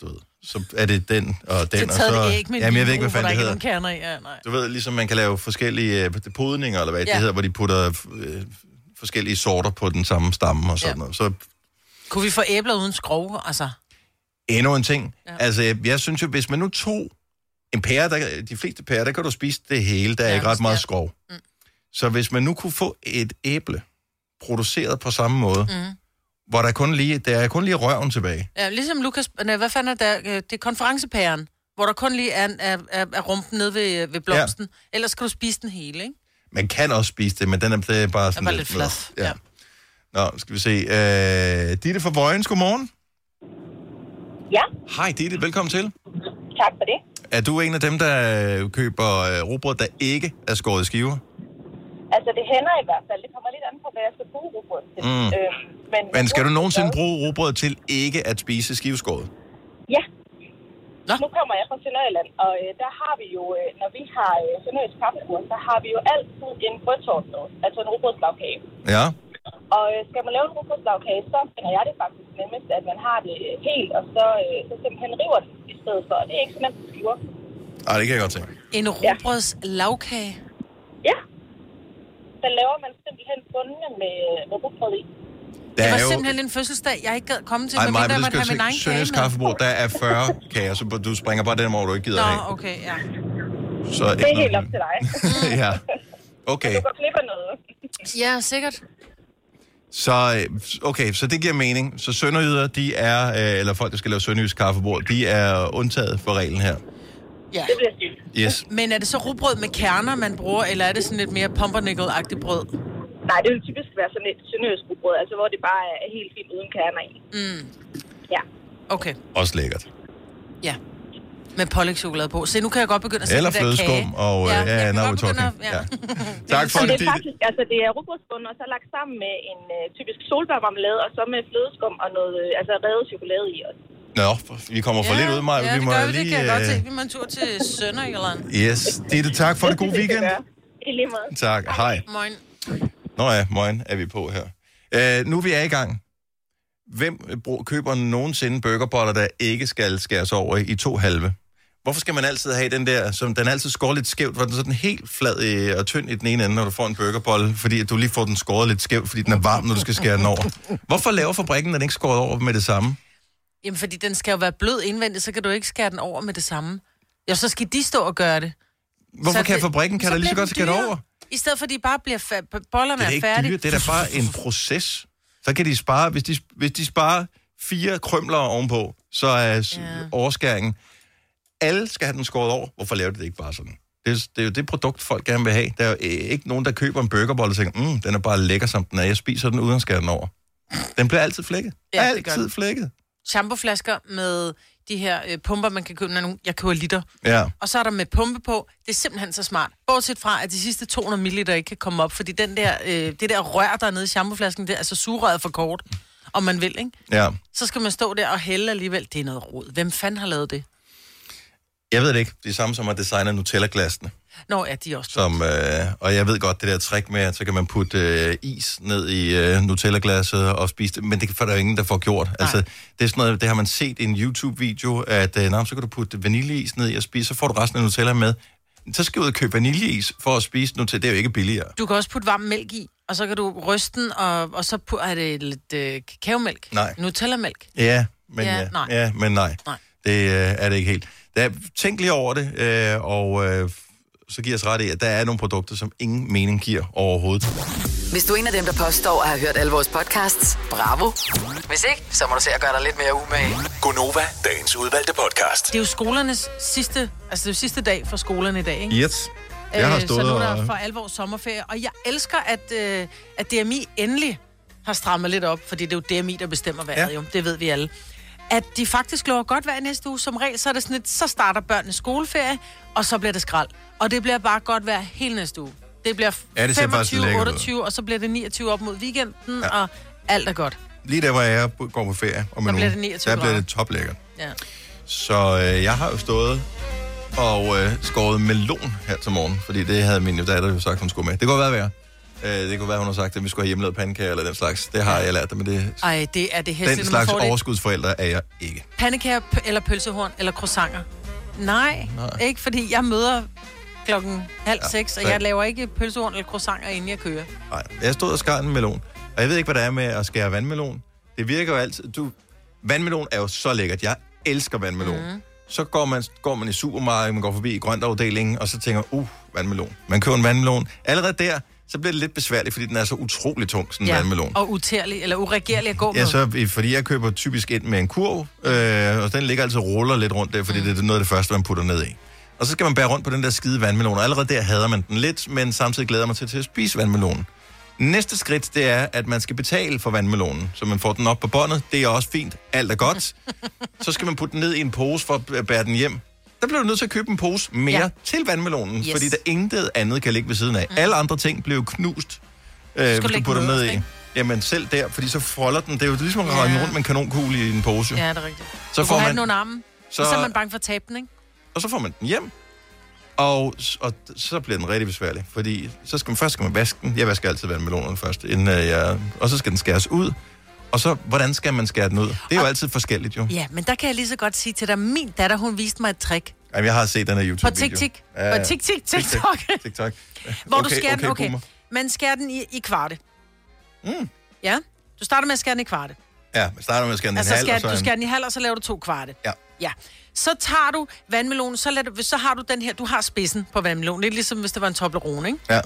Speaker 1: du ved, så er det den og den,
Speaker 2: Den,
Speaker 1: og
Speaker 2: så taget
Speaker 1: så...
Speaker 2: så, æg med en
Speaker 1: jamen, jeg ved ikke,
Speaker 2: vindrue,
Speaker 1: hvad
Speaker 2: hvor
Speaker 1: fanden
Speaker 2: der
Speaker 1: det hedder.
Speaker 2: ikke er nogen kerner i. Ja, nej.
Speaker 1: Du ved, ligesom man kan lave forskellige øh, podninger, eller hvad ja.
Speaker 2: Ja.
Speaker 1: det hedder, hvor de putter øh, forskellige sorter på den samme stamme og sådan ja.
Speaker 2: Ja.
Speaker 1: noget. Så
Speaker 2: Kunne vi få æbler uden skrog, altså?
Speaker 1: endnu en ting. Ja.
Speaker 2: Ja.
Speaker 1: Altså, jeg, jeg synes jo, hvis man nu tog en pære, der, de fleste pærer, der kan du spise det hele, der er
Speaker 2: Ja,
Speaker 1: ikke ret
Speaker 2: hvis-
Speaker 1: meget
Speaker 2: ja.
Speaker 1: skov. Mm.
Speaker 2: Mhm.
Speaker 1: Så hvis man nu kunne få et æble produceret på samme måde, mm. hvor der kun lige, der er kun lige røven tilbage.
Speaker 2: Ja, ligesom Lukas... Nej, hvad fanden er der? Øh, Det er konferencepæren, hvor der kun lige er, er, er, er rumpen nede ved, øh, ved blomsten. Ja. Ellers skal du spise den hele, ikke?
Speaker 1: Man kan også spise det, men den er det er bare
Speaker 2: Det er
Speaker 1: sådan
Speaker 2: bare lidt flad. Ja.
Speaker 1: Ja. Nå, skal vi se. Øh, Ditte fra Vojens, godmorgen.
Speaker 10: Ja,
Speaker 1: Hej Ditte, velkommen til.
Speaker 10: tak for det.
Speaker 1: Er du en af dem, der øh, køber øh, rugbrød, der ikke er skåret i skiver?
Speaker 10: Altså, det hænder i hvert fald. Det kommer lidt an på, hvad jeg skal bruge rugbrød til.
Speaker 1: Mm.
Speaker 10: Øh,
Speaker 1: Men skal du nogensinde bruge rugbrød til ikke at spise skiveskåret?
Speaker 10: Ja. Nå. Nu kommer jeg fra Sønderjylland, og øh, der har vi jo, øh, når vi har øh, Sønderjysk kaffekurs, der har vi jo altid en brødtort med, altså en rugbrødslagkage.
Speaker 1: Ja.
Speaker 10: Og øh, skal man lave en rugbrødslagkage, så finder jeg det faktisk nemmest, at man har det øh, helt, og så, øh, så simpelthen river den i stedet for. Det er ikke så nemt at skiver.
Speaker 1: Ej, det kan jeg godt tænke.
Speaker 2: En råbrøds lavkage.
Speaker 10: Ja. Så laver man simpelthen bundene med, øh, med rugbrød i.
Speaker 1: Der
Speaker 2: Det
Speaker 1: er
Speaker 2: var
Speaker 1: jo...
Speaker 2: simpelthen en fødselsdag, jeg ikke gad komme til,
Speaker 1: Ej,
Speaker 2: medmindre
Speaker 1: mig,
Speaker 2: jeg
Speaker 1: det
Speaker 2: måtte
Speaker 1: skal
Speaker 2: have min
Speaker 1: jeg
Speaker 2: egen kage
Speaker 1: se. Sønderjysk
Speaker 2: med.
Speaker 1: kaffebrød, der er 40 kager, så du springer bare den over, du ikke gider
Speaker 2: Nå,
Speaker 1: have.
Speaker 2: okay, ja.
Speaker 1: Så
Speaker 10: Det er helt op til dig.
Speaker 1: ja.
Speaker 10: Men
Speaker 1: Okay,
Speaker 10: Du går glip af noget.
Speaker 2: Ja, sikkert.
Speaker 1: så, øh, okay, så det giver mening. Så sønderjyder, de er, øh, eller folk, der skal lave sønderjysk kaffebord, de er undtaget for reglen her.
Speaker 2: Ja.
Speaker 10: Det bliver sygt.
Speaker 1: Yes.
Speaker 2: Men er det så rugbrød med kerner, man bruger, eller er det sådan lidt mere pumpernickel-agtigt brød?
Speaker 10: Nej, det vil typisk være sådan et sønderjysk rugbrød, altså hvor det bare er helt fint uden kerner i.
Speaker 2: Mm.
Speaker 10: Ja.
Speaker 2: Okay,
Speaker 1: Også lækkert.
Speaker 2: ja. Med pålægtschokolade på. Se, nu kan jeg godt begynde at se
Speaker 1: Eller
Speaker 2: det der kage.
Speaker 1: flødeskum, og øh, ja,
Speaker 2: jeg
Speaker 1: ja,
Speaker 2: kan
Speaker 1: now we're
Speaker 2: godt
Speaker 1: talking.
Speaker 2: begynde
Speaker 1: Ja.
Speaker 2: at-
Speaker 1: Tak for
Speaker 10: Og det er
Speaker 1: det, Ditte.
Speaker 10: faktisk, altså det er rugbrødsbunden, og så lagt sammen med en øh, typisk solbærmarmelade, og så med flødeskum og noget, øh, altså revet chokolade i. Og
Speaker 1: Nå, vi kommer for lidt ud, Maja.
Speaker 2: Ja,
Speaker 1: vi
Speaker 2: det
Speaker 1: må
Speaker 2: gør vi,
Speaker 1: lige...
Speaker 2: det kan jeg godt
Speaker 1: øh,
Speaker 2: se. Vi må en tur til Sønderjylland.
Speaker 1: Yes, Ditte, tak for det. God
Speaker 10: det
Speaker 1: weekend.
Speaker 10: gør. I lige måde.
Speaker 1: Tak, hej.
Speaker 2: Moin.
Speaker 1: Nå ja, morgen er vi på her. Øh, nu er vi er i gang. Hvem øh, brug- køber nogensinde burgerboller, der ikke skal skæres over i to halve? Hvorfor skal man altid have den der, som den altid skårer lidt skævt, hvor den er sådan helt flad øh, og tynd i den ene ende, når du får en burgerbolle, fordi at du lige får den skåret lidt skævt, fordi den er varm, når du skal skære den over. Hvorfor laver fabrikken den ikke skåret over med det samme?
Speaker 2: Jamen, fordi den skal jo være blød indvendigt, så kan du ikke skære den over med det samme. Ja, så skal de stå og gøre det.
Speaker 1: Hvorfor
Speaker 2: Så
Speaker 1: kan
Speaker 2: det-
Speaker 1: fabrikken kan
Speaker 2: så
Speaker 1: der lige så
Speaker 2: bliver
Speaker 1: godt
Speaker 2: den
Speaker 1: skære den
Speaker 2: dyrere.
Speaker 1: over?
Speaker 2: I stedet for, at de bare bliver fa- bollerne
Speaker 1: Det er
Speaker 2: er,
Speaker 1: da ikke
Speaker 2: færdige.
Speaker 1: dyre, det er da bare en proces. Så kan de spare, hvis de, hvis de sparer fire krømler ovenpå, så er ja. overskæringen. Alle skal have den skåret over. Hvorfor laver de det ikke bare sådan? Det er, det er jo det produkt, folk gerne vil have. Der er jo øh, ikke nogen, der køber en burgerbolle og tænker, mm, den er bare lækker, som den er. Jeg spiser den uden at skære den over. Den bliver altid flækket.
Speaker 2: Ja,
Speaker 1: Ja,
Speaker 2: det gør
Speaker 1: altid
Speaker 2: den.
Speaker 1: flækket.
Speaker 2: Shampooflasker med de her øh, pumper, man kan købe, når nu- jeg køber liter.
Speaker 1: Ja.
Speaker 2: Og så er der med pumpe på. Det er simpelthen så smart. Bortset fra, at de sidste 200 ml ikke kan komme op, fordi den der, øh, det der rør, der er nede i shampooflasken, det er altså sugerøret for kort, om man vil, ikke?
Speaker 1: ja.
Speaker 2: Så skal man stå der og hælde alligevel. Det er noget rod. Hvem fanden har lavet det?
Speaker 1: Jeg ved det ikke. De samme, som har designet Nutella-glassene.
Speaker 2: Nå, ja, de er også
Speaker 1: Som, øh, og jeg ved godt, det der trick med, at så kan man putte øh, is ned i øh, Nutella-glasset og spise det, men det får der jo ingen, der får gjort. Altså, det er sådan noget, det har man set i en YouTube-video, at øh, nah, så kan du putte vaniljeis ned i og spise, så får du resten af Nutella med. Så skal du ud og købe vaniljeis for at spise Nutella. Det er jo ikke billigere.
Speaker 2: Du kan også putte varm mælk i, og så kan du ryste den, og, og så pu- er det lidt øh, kakaomælk.
Speaker 1: Nej.
Speaker 2: Nutella-mælk.
Speaker 1: Ja, men ja,
Speaker 2: Ja,
Speaker 1: ja, nej.
Speaker 2: nej.
Speaker 1: Ja, men nej.
Speaker 2: Nej.
Speaker 1: Det øh, er det ikke helt. Der, tænk lige over det, øh, og øh, så giver os ret i, at der er nogle produkter, som ingen mening giver overhovedet.
Speaker 3: Hvis du er en af dem, der påstår at have hørt alle vores podcasts, bravo. Hvis ikke, så må du se at gøre dig lidt mere umage.
Speaker 9: Gonova, dagens udvalgte podcast.
Speaker 2: Det er jo skolernes sidste, altså det er jo sidste dag for skolerne i dag, ikke?
Speaker 1: Yes. Jeg har
Speaker 2: Øh, så
Speaker 1: stået
Speaker 2: nu er der
Speaker 1: og...
Speaker 2: for alvor sommerferie, og jeg elsker, at, øh, at DMI endelig har strammet lidt op, fordi det er jo DMI, der bestemmer vejret,
Speaker 1: Ja.
Speaker 2: ja. jo. Det ved vi alle. At de faktisk lover godt vejr næste uge. Som regel, så er det sådan lidt, så starter børnenes skoleferie, og så bliver det skrald. Og det bliver bare godt vejr hele næste uge. Det bliver
Speaker 1: Ja, det ser faktisk
Speaker 2: 25,
Speaker 1: lækkert ud.
Speaker 2: 28, og så bliver det 29 op mod weekenden, ja. og alt er godt.
Speaker 1: lige der, hvor jeg går på ferie om
Speaker 2: Der
Speaker 1: en
Speaker 2: bliver
Speaker 1: uge,
Speaker 2: det 29
Speaker 1: der bliver
Speaker 2: grader.
Speaker 1: det toplækkert.
Speaker 2: Ja.
Speaker 1: Så øh, jeg har jo stået og øh, skåret melon her til morgen, fordi det havde min datter jo sagt, hun skulle med. Det kunne være værre. Øh, det kunne være, hun har sagt, at vi skulle have hjemmelavet pandekager eller den slags. Det har jeg lært dig, men det,
Speaker 2: Ej, det er det
Speaker 1: den
Speaker 2: hæsligt, når man
Speaker 1: slags
Speaker 2: får det.
Speaker 1: overskudsforældre er jeg ikke.
Speaker 2: Pandekager p- eller pølsehorn eller croissanter? Nej,
Speaker 1: Nej.
Speaker 2: Nej, ikke fordi jeg møder klokken halv
Speaker 1: Ja,
Speaker 2: ja, seks, og
Speaker 1: så-
Speaker 2: jeg laver ikke pølsehorn eller croissanter, inden jeg kører.
Speaker 1: Nej, jeg stod og skar en melon, og jeg ved ikke, hvad der er med at skære vandmelon. Det virker jo altid... Du, vandmelon er jo så lækkert. Jeg elsker vandmelon. Mm. Så går man, går man i supermarkedet, man går forbi i grøntafdelingen, og så tænker, uh, vandmelon. Man køber en vandmelon. Allerede der, så bliver det lidt besværligt, fordi den er så utrolig tung, sådan en
Speaker 2: Ja.
Speaker 1: vandmelon.
Speaker 2: Og utærlig, eller uregerlig at gå med.
Speaker 1: Ja, så, fordi jeg køber typisk ind med en kurv, øh, og den ligger altså og ruller lidt rundt der, fordi mm. det er noget af det første, man putter ned i. Og så skal man bære rundt på den der skide vandmelon, og allerede der hader man den lidt, men samtidig glæder man sig til at spise vandmelonen. Næste skridt, det er, at man skal betale for vandmelonen, så man får den op på båndet. Det er også fint. Alt er godt. så skal man putte den ned i en pose for at bære den hjem. Der bliver du nødt til at købe en pose mere
Speaker 11: Ja.
Speaker 1: ja. til vandmelonen,
Speaker 11: Yes.
Speaker 1: yes. fordi der intet andet kan ligge ved siden af. Mm. Alle andre ting blev knust øh, hvis
Speaker 2: lægge
Speaker 1: du putter
Speaker 2: den
Speaker 1: dem ned
Speaker 2: nederst,
Speaker 1: i. Jamen selv der, fordi så folder den. Det er jo ligesom at rende rundt med en kanonkugle i en pose.
Speaker 2: Ja,
Speaker 1: Ja.
Speaker 2: det er rigtigt.
Speaker 1: Så
Speaker 2: Så du
Speaker 1: får
Speaker 2: får man...
Speaker 1: man-
Speaker 2: den under armen, så...
Speaker 1: så-
Speaker 2: og så er man bange for at tabe den, ikke?
Speaker 1: Og så får man den hjem. Og, og så bliver den rigtig besværlig, fordi så skal man, først skal man vaske den. Jeg vasker altid vandmelonerne først, inden øh, jeg... Og så skal den skæres ud. Og så, hvordan skal man skære den ud? Det er jo altid forskelligt, jo.
Speaker 2: Ja, men der kan jeg lige så godt sige til dig, min datter, hun viste mig et trick.
Speaker 1: Jamen, jeg har set den her
Speaker 2: På
Speaker 1: YouTube-video.
Speaker 2: tik-tik. På tik-tik, TikTok.
Speaker 1: TikTok.
Speaker 2: Hvor okay, du skærer den, okay. Man skærer den i, i kvarte.
Speaker 1: Mm.
Speaker 2: Ja, du starter med at skære den i kvarte.
Speaker 1: Ja, man starter med at skære den i
Speaker 2: altså,
Speaker 1: halv,
Speaker 2: skærer,
Speaker 1: og så
Speaker 2: du
Speaker 1: en-
Speaker 2: skærer den i halv, og så laver du to kvarte.
Speaker 1: Ja.
Speaker 2: Ja. Så tager du vandmelonen, så, lader du, så har du den her, du har spidsen på vandmelonen. Lidt ligesom hvis det var en Toblerone, ikke?
Speaker 1: Ja.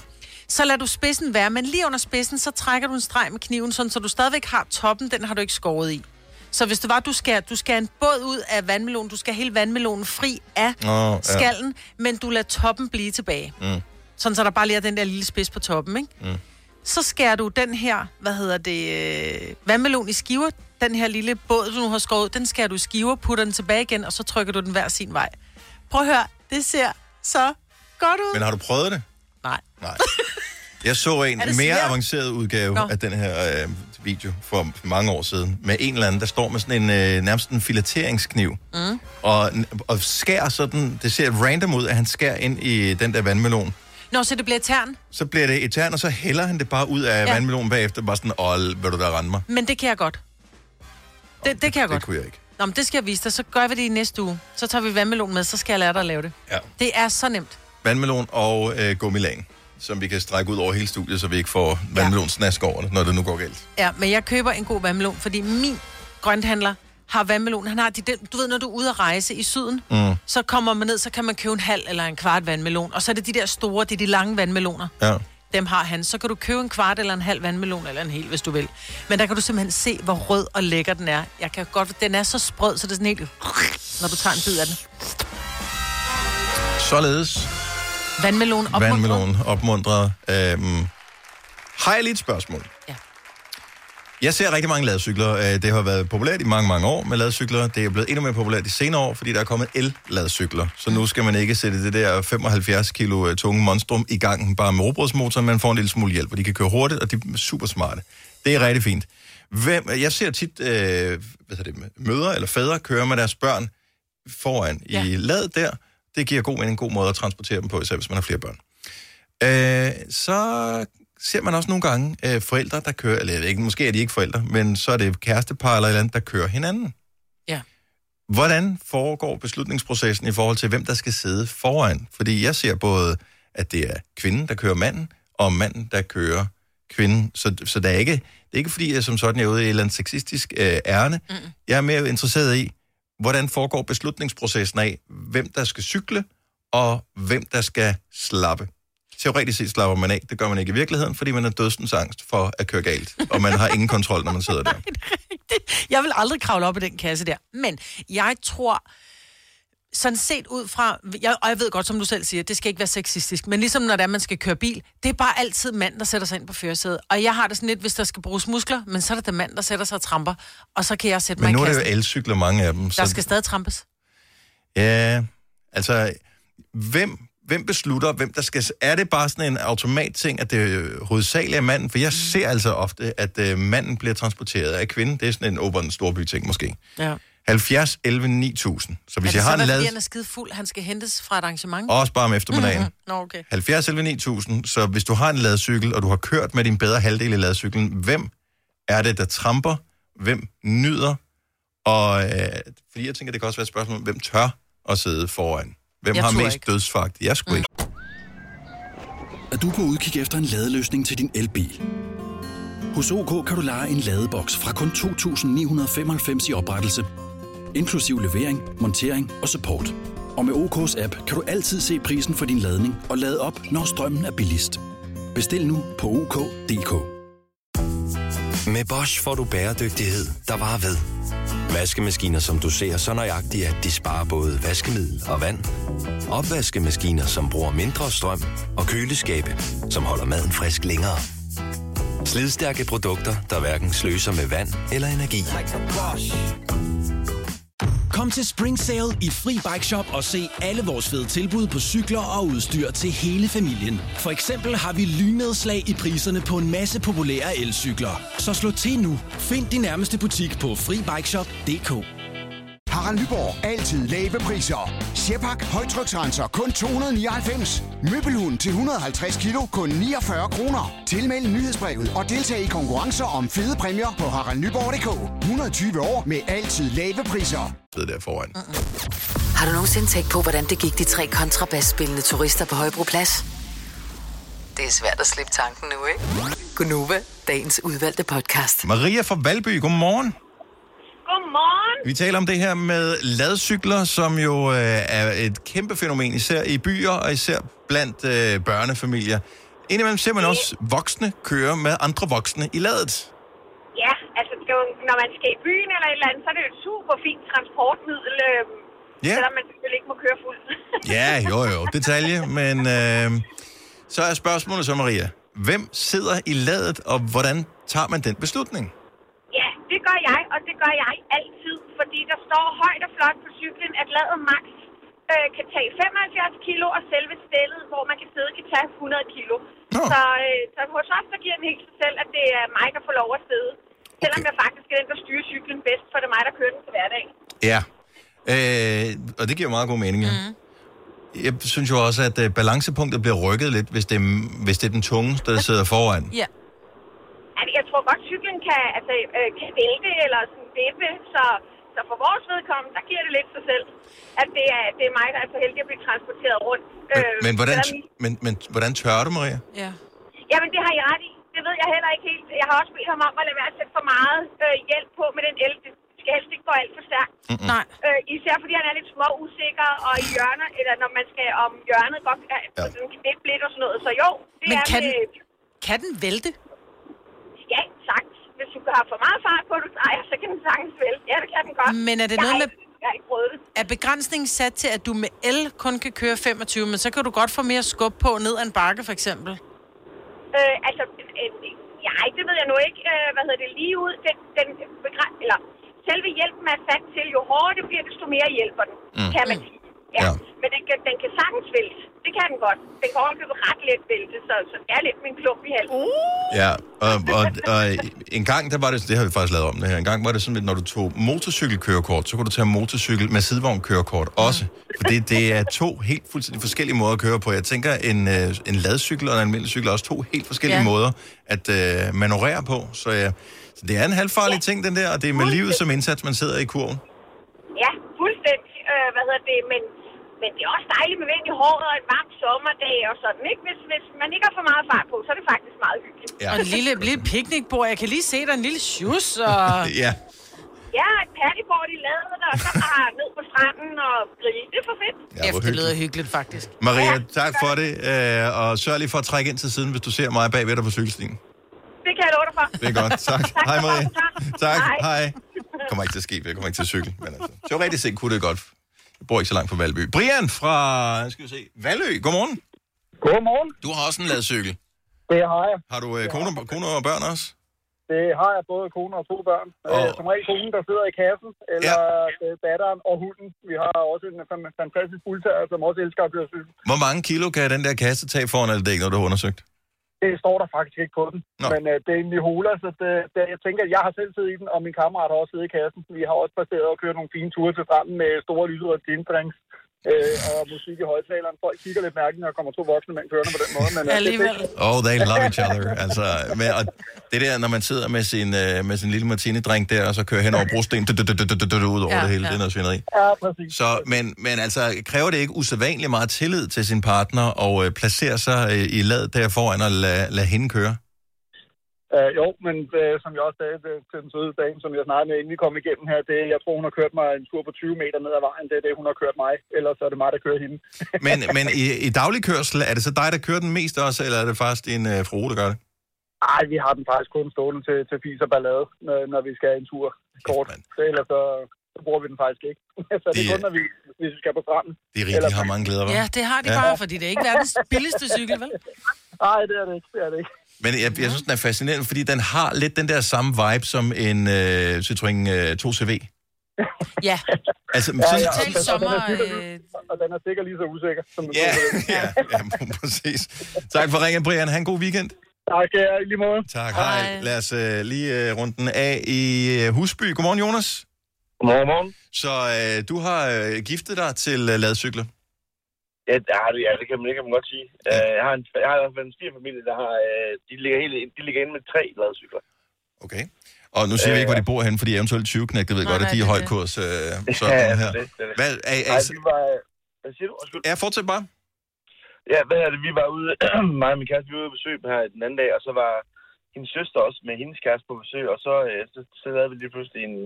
Speaker 2: Så lader du spidsen være, men lige under spidsen, så trækker du en streg med kniven, sådan, så du stadigvæk har toppen, den har du ikke skåret i. Så hvis det var, du skal, du skal en båd ud af vandmelonen, du skal hele vandmelonen fri af
Speaker 1: Nå, ja.
Speaker 2: skallen, men du lader toppen blive tilbage.
Speaker 1: Mm.
Speaker 2: Sådan, så der bare lige er den der lille spids på toppen, ikke?
Speaker 1: Mm.
Speaker 2: Så skærer du den her, hvad hedder det, øh, vandmelon i skiver. Den her lille båd, du nu har skåret, ud, den skærer du i skiver, putter den tilbage igen, og så trykker du den hver sin vej. Prøv at høre, det ser så godt ud.
Speaker 1: Men har du prøvet det?
Speaker 2: Nej.
Speaker 1: Nej. Jeg så en
Speaker 2: Er det
Speaker 1: mere
Speaker 2: svært?
Speaker 1: avanceret udgave
Speaker 2: Nå.
Speaker 1: Nå. af den her øh, video for mange år siden, med en eller anden, der står med sådan en øh, nærmest en fileteringskniv,
Speaker 12: Mm.
Speaker 1: og, og skærer sådan, det ser random ud, at han skærer ind i den der vandmelon.
Speaker 2: Nå, så det bliver tern.
Speaker 1: Så bliver det etern, og så hælder han det bare ud af
Speaker 2: Ja.
Speaker 1: ja. vandmelonen bagefter, bare sådan, åh, vil du da rende mig?
Speaker 2: Men det kan jeg godt. Det, det kan jeg godt.
Speaker 1: Det kunne jeg ikke.
Speaker 2: Nå, men det skal jeg vise dig. Så gør vi det i næste uge. Så tager vi vandmelon med, så skal jeg lære dig at lave det.
Speaker 1: Ja.
Speaker 2: Det er så nemt.
Speaker 1: Vandmelon og øh, gummilan, som vi kan strække ud over hele studiet, så vi ikke får vandmelonsnask over det, når det nu går galt.
Speaker 2: Ja, men jeg køber en god vandmelon, fordi min grønthandler har vandmelon. Han har de, den- du ved, når du er ude at rejse i syden,
Speaker 1: Mm.
Speaker 2: så kommer man ned, så kan man købe en halv eller en kvart vandmelon. Og så er det de der store, det er de lange vandmeloner.
Speaker 1: Ja.
Speaker 2: Dem har han. Så kan du købe en kvart eller en halv vandmelon, eller en hel, hvis du vil. Men der kan du simpelthen se, hvor rød og lækker den er. Jeg kan godt, den er så sprød, så det er sådan helt... Når du tager en bid af den.
Speaker 1: Således.
Speaker 2: Vandmelon opmuntrer.
Speaker 1: Vandmelon opmuntrer. Øhm, har jeg lige et spørgsmål?
Speaker 2: Ja.
Speaker 1: Jeg ser rigtig mange ladcykler. Øh, Det har været populært i mange, mange år med ladcykler. Det er blevet endnu mere populært de senere år, fordi der er kommet el-ladcykler. Så nu skal man ikke sætte det der 75 kilo øh, tunge monstrum i gang bare med robrødsmotoren. Man får en lille smule hjælp, og de kan køre hurtigt, og de er super smarte. Det er rigtig fint. Hvem, jeg ser tit øh, hvad hedder det, mødre eller fædre køre med deres børn foran ja. i lad der. Det giver god mening, en god måde at transportere dem på, især hvis man har flere børn. Øh, så ser man også nogle gange øh, forældre, der kører, eller jeg ved ikke, måske er de ikke forældre, men så er det kærestepar eller et eller andet, der kører hinanden.
Speaker 2: Ja.
Speaker 1: Hvordan foregår beslutningsprocessen i forhold til, hvem der skal sidde foran? Fordi jeg ser både, at det er kvinden, der kører manden, og manden, der kører kvinden. Så, så der er ikke, det er ikke fordi, jeg som sådan er ude i et eller andet sexistisk øh, ærne. Mm. Jeg er mere interesseret i, hvordan foregår beslutningsprocessen af, hvem der skal cykle, og hvem der skal slappe. Teoretisk set slapper man af, det gør man ikke i virkeligheden, fordi man er dødsens angst for at køre galt, og man har ingen kontrol, når man sidder der.
Speaker 2: Jeg vil aldrig kravle op i den kasse der. Men jeg tror, sådan set ud fra, jeg, og jeg ved godt, som du selv siger, det skal ikke være sexistisk, men ligesom når det er, man skal køre bil, det er bare altid mand, der sætter sig ind på førersædet. Og jeg har det sådan lidt, hvis der skal bruges muskler, men så er det da mand, der sætter sig og tramper, og så kan jeg sætte
Speaker 1: Men
Speaker 2: mig
Speaker 1: nu
Speaker 2: i
Speaker 1: er det
Speaker 2: kassen.
Speaker 1: jo elcykler, mange af dem.
Speaker 2: Der skal stadig trampes.
Speaker 1: Ja, altså, hvem, hvem beslutter, hvem der skal... Er det bare sådan en automatting, at det øh, hovedsageligt er manden? For
Speaker 2: Mm.
Speaker 1: jeg ser altså ofte, at øh, manden bliver transporteret af kvinden. Det er sådan en open storby-ting måske.
Speaker 2: Ja.
Speaker 1: 70, 11, 9000. Så hvis
Speaker 2: er det
Speaker 1: jeg har
Speaker 2: så,
Speaker 1: en
Speaker 2: være,
Speaker 1: lad...
Speaker 2: fordi han er skide fuld, han skal hentes fra et arrangement?
Speaker 1: Også bare om eftermiddagen.
Speaker 2: Mhm. Nå, okay.
Speaker 1: 70 11 9000, så hvis du har en ladcykel, og du har kørt med din bedre halvdel i ladcyklen, hvem er det, der tramper? Hvem nyder? Og øh, fordi jeg tænker, det kan også være et spørgsmål, om, hvem tør at sidde foran? Hvem
Speaker 5: Jeg
Speaker 1: har
Speaker 5: turde
Speaker 1: mest
Speaker 5: ikke. Mm.
Speaker 1: dødsfagt? Jeg skulle ikke.
Speaker 5: Er du på udkig efter en ladeløsning til din elbil? Hos OK kan du lege en ladeboks fra kun 2.995 i oprettelse, inklusiv levering, montering og support. Og med OK's app kan du altid se prisen for din ladning og lade op, når strømmen er billigst. Bestil nu på OK.dk.
Speaker 6: Med Bosch får du bæredygtighed, der varer ved. Vaskemaskiner, som du ser så nøjagtigt, at de sparer både vaskemiddel og vand. Opvaskemaskiner, som bruger mindre strøm. Og køleskabe, som holder maden frisk længere. Slidstærke produkter, der hverken sløser med vand eller energi.
Speaker 7: Kom til Spring Sale i Fri Bike Shop og se alle vores fede tilbud på cykler og udstyr til hele familien. For eksempel har vi lynnedslag i priserne på en masse populære elcykler. Så slå til nu. Find din nærmeste butik på FriBikeShop.dk.
Speaker 11: Harald Nyborg. Altid lave priser. Sjehpak. Højtryksrenser. Kun 299. Møbelhund til 150 kilo. Kun 49 kroner. Tilmeld nyhedsbrevet og deltag i konkurrencer om fede præmier på haraldnyborg.dk. 120 år med altid lave priser.
Speaker 1: Sidder der foran.
Speaker 3: Har du nogensinde tænkt på, hvordan det gik de tre kontrabasspillende turister på Højbroplads? Det er svært at slippe tanken nu, ikke? Gunova, dagens udvalgte podcast.
Speaker 1: Maria fra Valby, godmorgen.
Speaker 12: Godmorgen.
Speaker 1: Vi taler om det her med ladcykler, som jo øh, er et kæmpe fænomen, især i byer og især blandt øh, børnefamilier. Indimellem ser man også voksne køre med andre voksne i ladet.
Speaker 12: Ja, altså det er jo, når man skal i byen eller et eller andet, så er det jo et super fint transportmiddel, øh,
Speaker 1: Ja.
Speaker 12: selvom man selvfølgelig ikke må køre fuldt.
Speaker 1: Ja, jo jo, detalje, men øh, så er spørgsmålet så, Maria. Hvem sidder i ladet, og hvordan tager man den beslutning?
Speaker 12: ja, det gør jeg, og det gør jeg altid, fordi der står højt og flot på cyklen, at ladet max øh, kan tage 75 kilo, og selve stillet, hvor man kan sidde, kan tage 100 kilo. Så, øh, så hos os, der giver den helt sig selv, at det er mig, der får lov at sidde. Selvom jeg faktisk er den, der styrer cyklen bedst, for det er mig, der kører den til hverdag.
Speaker 1: Ja, øh, og det giver meget god mening, ja. Mm. Jeg synes jo også, at øh, balancepunktet bliver rykket lidt, hvis det, er, hvis det er den tunge, der sidder foran.
Speaker 2: Ja.
Speaker 12: Altså, jeg tror godt, cyklen kan, altså, øh, kan vælte eller sådan vippe, så, så for vores vedkommende, der giver det lidt sig selv, at det er, det er mig, der er så heldig at blive transporteret rundt. Øh,
Speaker 1: Men hvordan,
Speaker 12: selvom-
Speaker 1: men, men hvordan tør du, Maria?
Speaker 2: Ja.
Speaker 12: Jamen, det har jeg ret i. Det ved jeg heller ikke helt. Jeg har også bedt ham om at lade være at sætte for meget øh, hjælp på med den el. Det skal helst ikke gå alt for stærkt.
Speaker 2: Mm-mm. Nej.
Speaker 12: Øh, især fordi han er lidt små usikker, og i hjørner, eller når man skal om hjørnet godt øh, ja. sådan knippe lidt og sådan noget. Så jo, det
Speaker 2: Men
Speaker 12: er
Speaker 2: kan
Speaker 12: med,
Speaker 2: Kan den vælte?
Speaker 12: ja, sagt. Hvis du har for meget fart på, du drejer, så kan den sagtens vælte. Ja, det kan den godt.
Speaker 2: Men er det
Speaker 12: jeg
Speaker 2: noget
Speaker 12: har
Speaker 2: med...
Speaker 12: ikke- Jeg har ikke prøvet det.
Speaker 2: Er begrænsningen sat til, at du med el kun kan køre 25, men så kan du godt få mere skub på ned ad en bakke, for eksempel?
Speaker 12: Øh, altså, øh, nej, det ved jeg nu ikke. Øh, hvad hedder det? Lige ud. Den, den begræn, eller, selve hjælpen er sat til, jo hårdere det bliver, desto mere hjælper den,
Speaker 13: Mm.
Speaker 12: mm. kan man sige. Ja. ja. Men den kan, den kan sagtens vælte. Det kan den godt. Den kan overkøbe ret let vælte, så, så det er lidt min klump i halsen. Uh!
Speaker 1: Ja, og, og, og en gang, der var det, det har vi faktisk lavet om det her, en gang var det sådan, at når du tog motorcykelkørekort, så kunne du tage motorcykel med sidevognkørekort også. Fordi det er to helt fuldstændig forskellige måder at køre på. Jeg tænker, en, øh, en ladcykel og en almindelig cykel er også to helt forskellige
Speaker 14: Ja.
Speaker 1: ja. måder at øh, manøvrere på. Så, øh, så det er en halvfarlig ja. ting, den der, og det er med livet som indsats, man sidder i kurven.
Speaker 12: Ja, fuldstændig. Øh, hvad hedder det? Men, men det er også dejligt med vind i håret og en varm sommerdag og sådan, ikke? Hvis, hvis man ikke har for meget fart på, så er det faktisk meget hyggeligt.
Speaker 2: Ja. Og en lille, lille picnicbord. Jeg kan lige se, der er en lille sjus, og...
Speaker 1: Ja.
Speaker 12: Ja, et paddybord i ladet, og så bare ned på stranden og grille. Det er for fedt.
Speaker 1: Ja, hvor
Speaker 2: det lyder hyggeligt, faktisk.
Speaker 1: Maria, tak for det, øh, og sørg lige for at trække ind til siden, hvis du ser mig bagved dig på cykelstien.
Speaker 12: Det kan jeg love dig for.
Speaker 1: Det er godt. Tak. Hej, Marie. Tak.
Speaker 12: Hej.
Speaker 1: Hej. Kommer ikke til at ske, for jeg kommer ikke til at cykle. Men altså, teoretisk set kunne det godt. Jeg bor ikke så langt fra Valby. Brian fra, nu skal vi se, Valø. Godmorgen.
Speaker 15: Godmorgen.
Speaker 1: Du har også en ladcykel.
Speaker 15: Det har jeg.
Speaker 1: Har du øh, kone, kone og børn også?
Speaker 15: Det har jeg både kone og to børn. Oh. Som regel konen, der sidder i kassen, eller ja. datteren og hunden. Vi har også en fan- fantastisk fuldtager, som også elsker at køre cykel.
Speaker 1: Hvor mange kilo kan den der kasse tage foran, eller det er ikke noget, du har undersøgt?
Speaker 15: Det står der faktisk ikke på den. Nå. Men øh, det er en Nihola, så det, det, jeg tænker, at jeg har selv siddet i den, og min kammerat har også siddet i kassen. Vi har også passeret og kørt nogle fine ture til stranden med store lyserøde tindbrings. Øh, og musik i højtaleren. Folk kigger lidt mærkeligt, når der kommer to voksne mænd kørende på den måde. Men, øh, det-
Speaker 2: Alligevel.
Speaker 1: Oh, they love each other. Altså, med, og det der, når man sidder med sin, øh, med sin lille martini-drink der, og så kører hen over brosten, dut, dut, dut, dut, dut, dut, ud over
Speaker 15: Ja,
Speaker 1: det hele,
Speaker 15: ja.
Speaker 1: det er noget svineri.
Speaker 15: Ja, præcis.
Speaker 1: Så, men, men altså, kræver det ikke usædvanligt meget tillid til sin partner, og øh, placere sig øh, i lad der foran og lade lad hende køre?
Speaker 15: Uh, jo, men uh, som jeg også sagde det, til den søde dame, som jeg snakkede med, inden vi kom igennem her, det, jeg tror, hun har kørt mig en tur på 20 meter ned ad vejen. Det er det, hun har kørt mig. Ellers er det mig, der kører hende.
Speaker 1: Men, men i, i daglig kørsel, er det så dig, der kører den mest også, eller er det faktisk en øh, frue, der gør det?
Speaker 15: Ej, vi har den faktisk kun stående til, til fis og ballade, når, når vi skal en tur kort. Så ellers så, så bruger vi den faktisk ikke. så det er
Speaker 1: Det-
Speaker 15: kun, når vi, hvis vi skal på stranden.
Speaker 1: Det er rigtigt, de har mange glæder, hva'?
Speaker 2: Ja, det har de ja. bare, fordi det er ikke verdens billigste cykel, vel?
Speaker 15: Nej, det er det ikke. Det er det ikke.
Speaker 1: Men jeg, jeg synes, den er fascinerende, fordi den har lidt den der samme vibe som en øh, Citroën øh, 2CV.
Speaker 2: Ja.
Speaker 1: Altså, ja, sådan,
Speaker 15: og, den, og, den er
Speaker 1: øh,
Speaker 15: sikkert, og den er sikkert lige så usikker, som den
Speaker 1: Ja,
Speaker 15: yeah.
Speaker 1: ja, ja, præcis. Tak for ringen, Brian. Ha' en god weekend.
Speaker 15: Tak, ja, i lige måde.
Speaker 1: Tak, hej. hej. Lad os øh, lige øh, runde den af i øh, Husby. Godmorgen, Jonas.
Speaker 13: Godmorgen, morgen.
Speaker 1: Så øh, du har øh, giftet dig til øh, ladcykler.
Speaker 13: Ja, det, ja, det- ja, det kan man, det kan man godt sige. Uh, jeg har en, jeg har i hvert fald en svigerfamilie, der har, uh, de, ligger hele, de ligger inde med tre ladcykler.
Speaker 1: Okay. Og nu siger øh, vi ikke, hvor de bor henne, fordi eventuelt 20 knægte ved
Speaker 13: Nej,
Speaker 1: godt, at
Speaker 13: nej,
Speaker 1: de er i
Speaker 13: det er
Speaker 1: høj
Speaker 13: det.
Speaker 1: kurs. Øh, så
Speaker 13: Ja,
Speaker 1: ja,
Speaker 13: det
Speaker 1: her.
Speaker 13: er det, det er det.
Speaker 1: Hvad, er, er,
Speaker 13: Nej,
Speaker 1: er,
Speaker 13: vi var, øh, hvad siger du? Undskyld.
Speaker 1: Ja, fortsæt bare.
Speaker 13: Ja, hvad er det? Vi var ude, mig og min kæreste, vi var ude og besøge dem her den anden dag, og så var hendes søster også med hendes kæreste på besøg, og så, øh, så, så lavede vi lige pludselig en,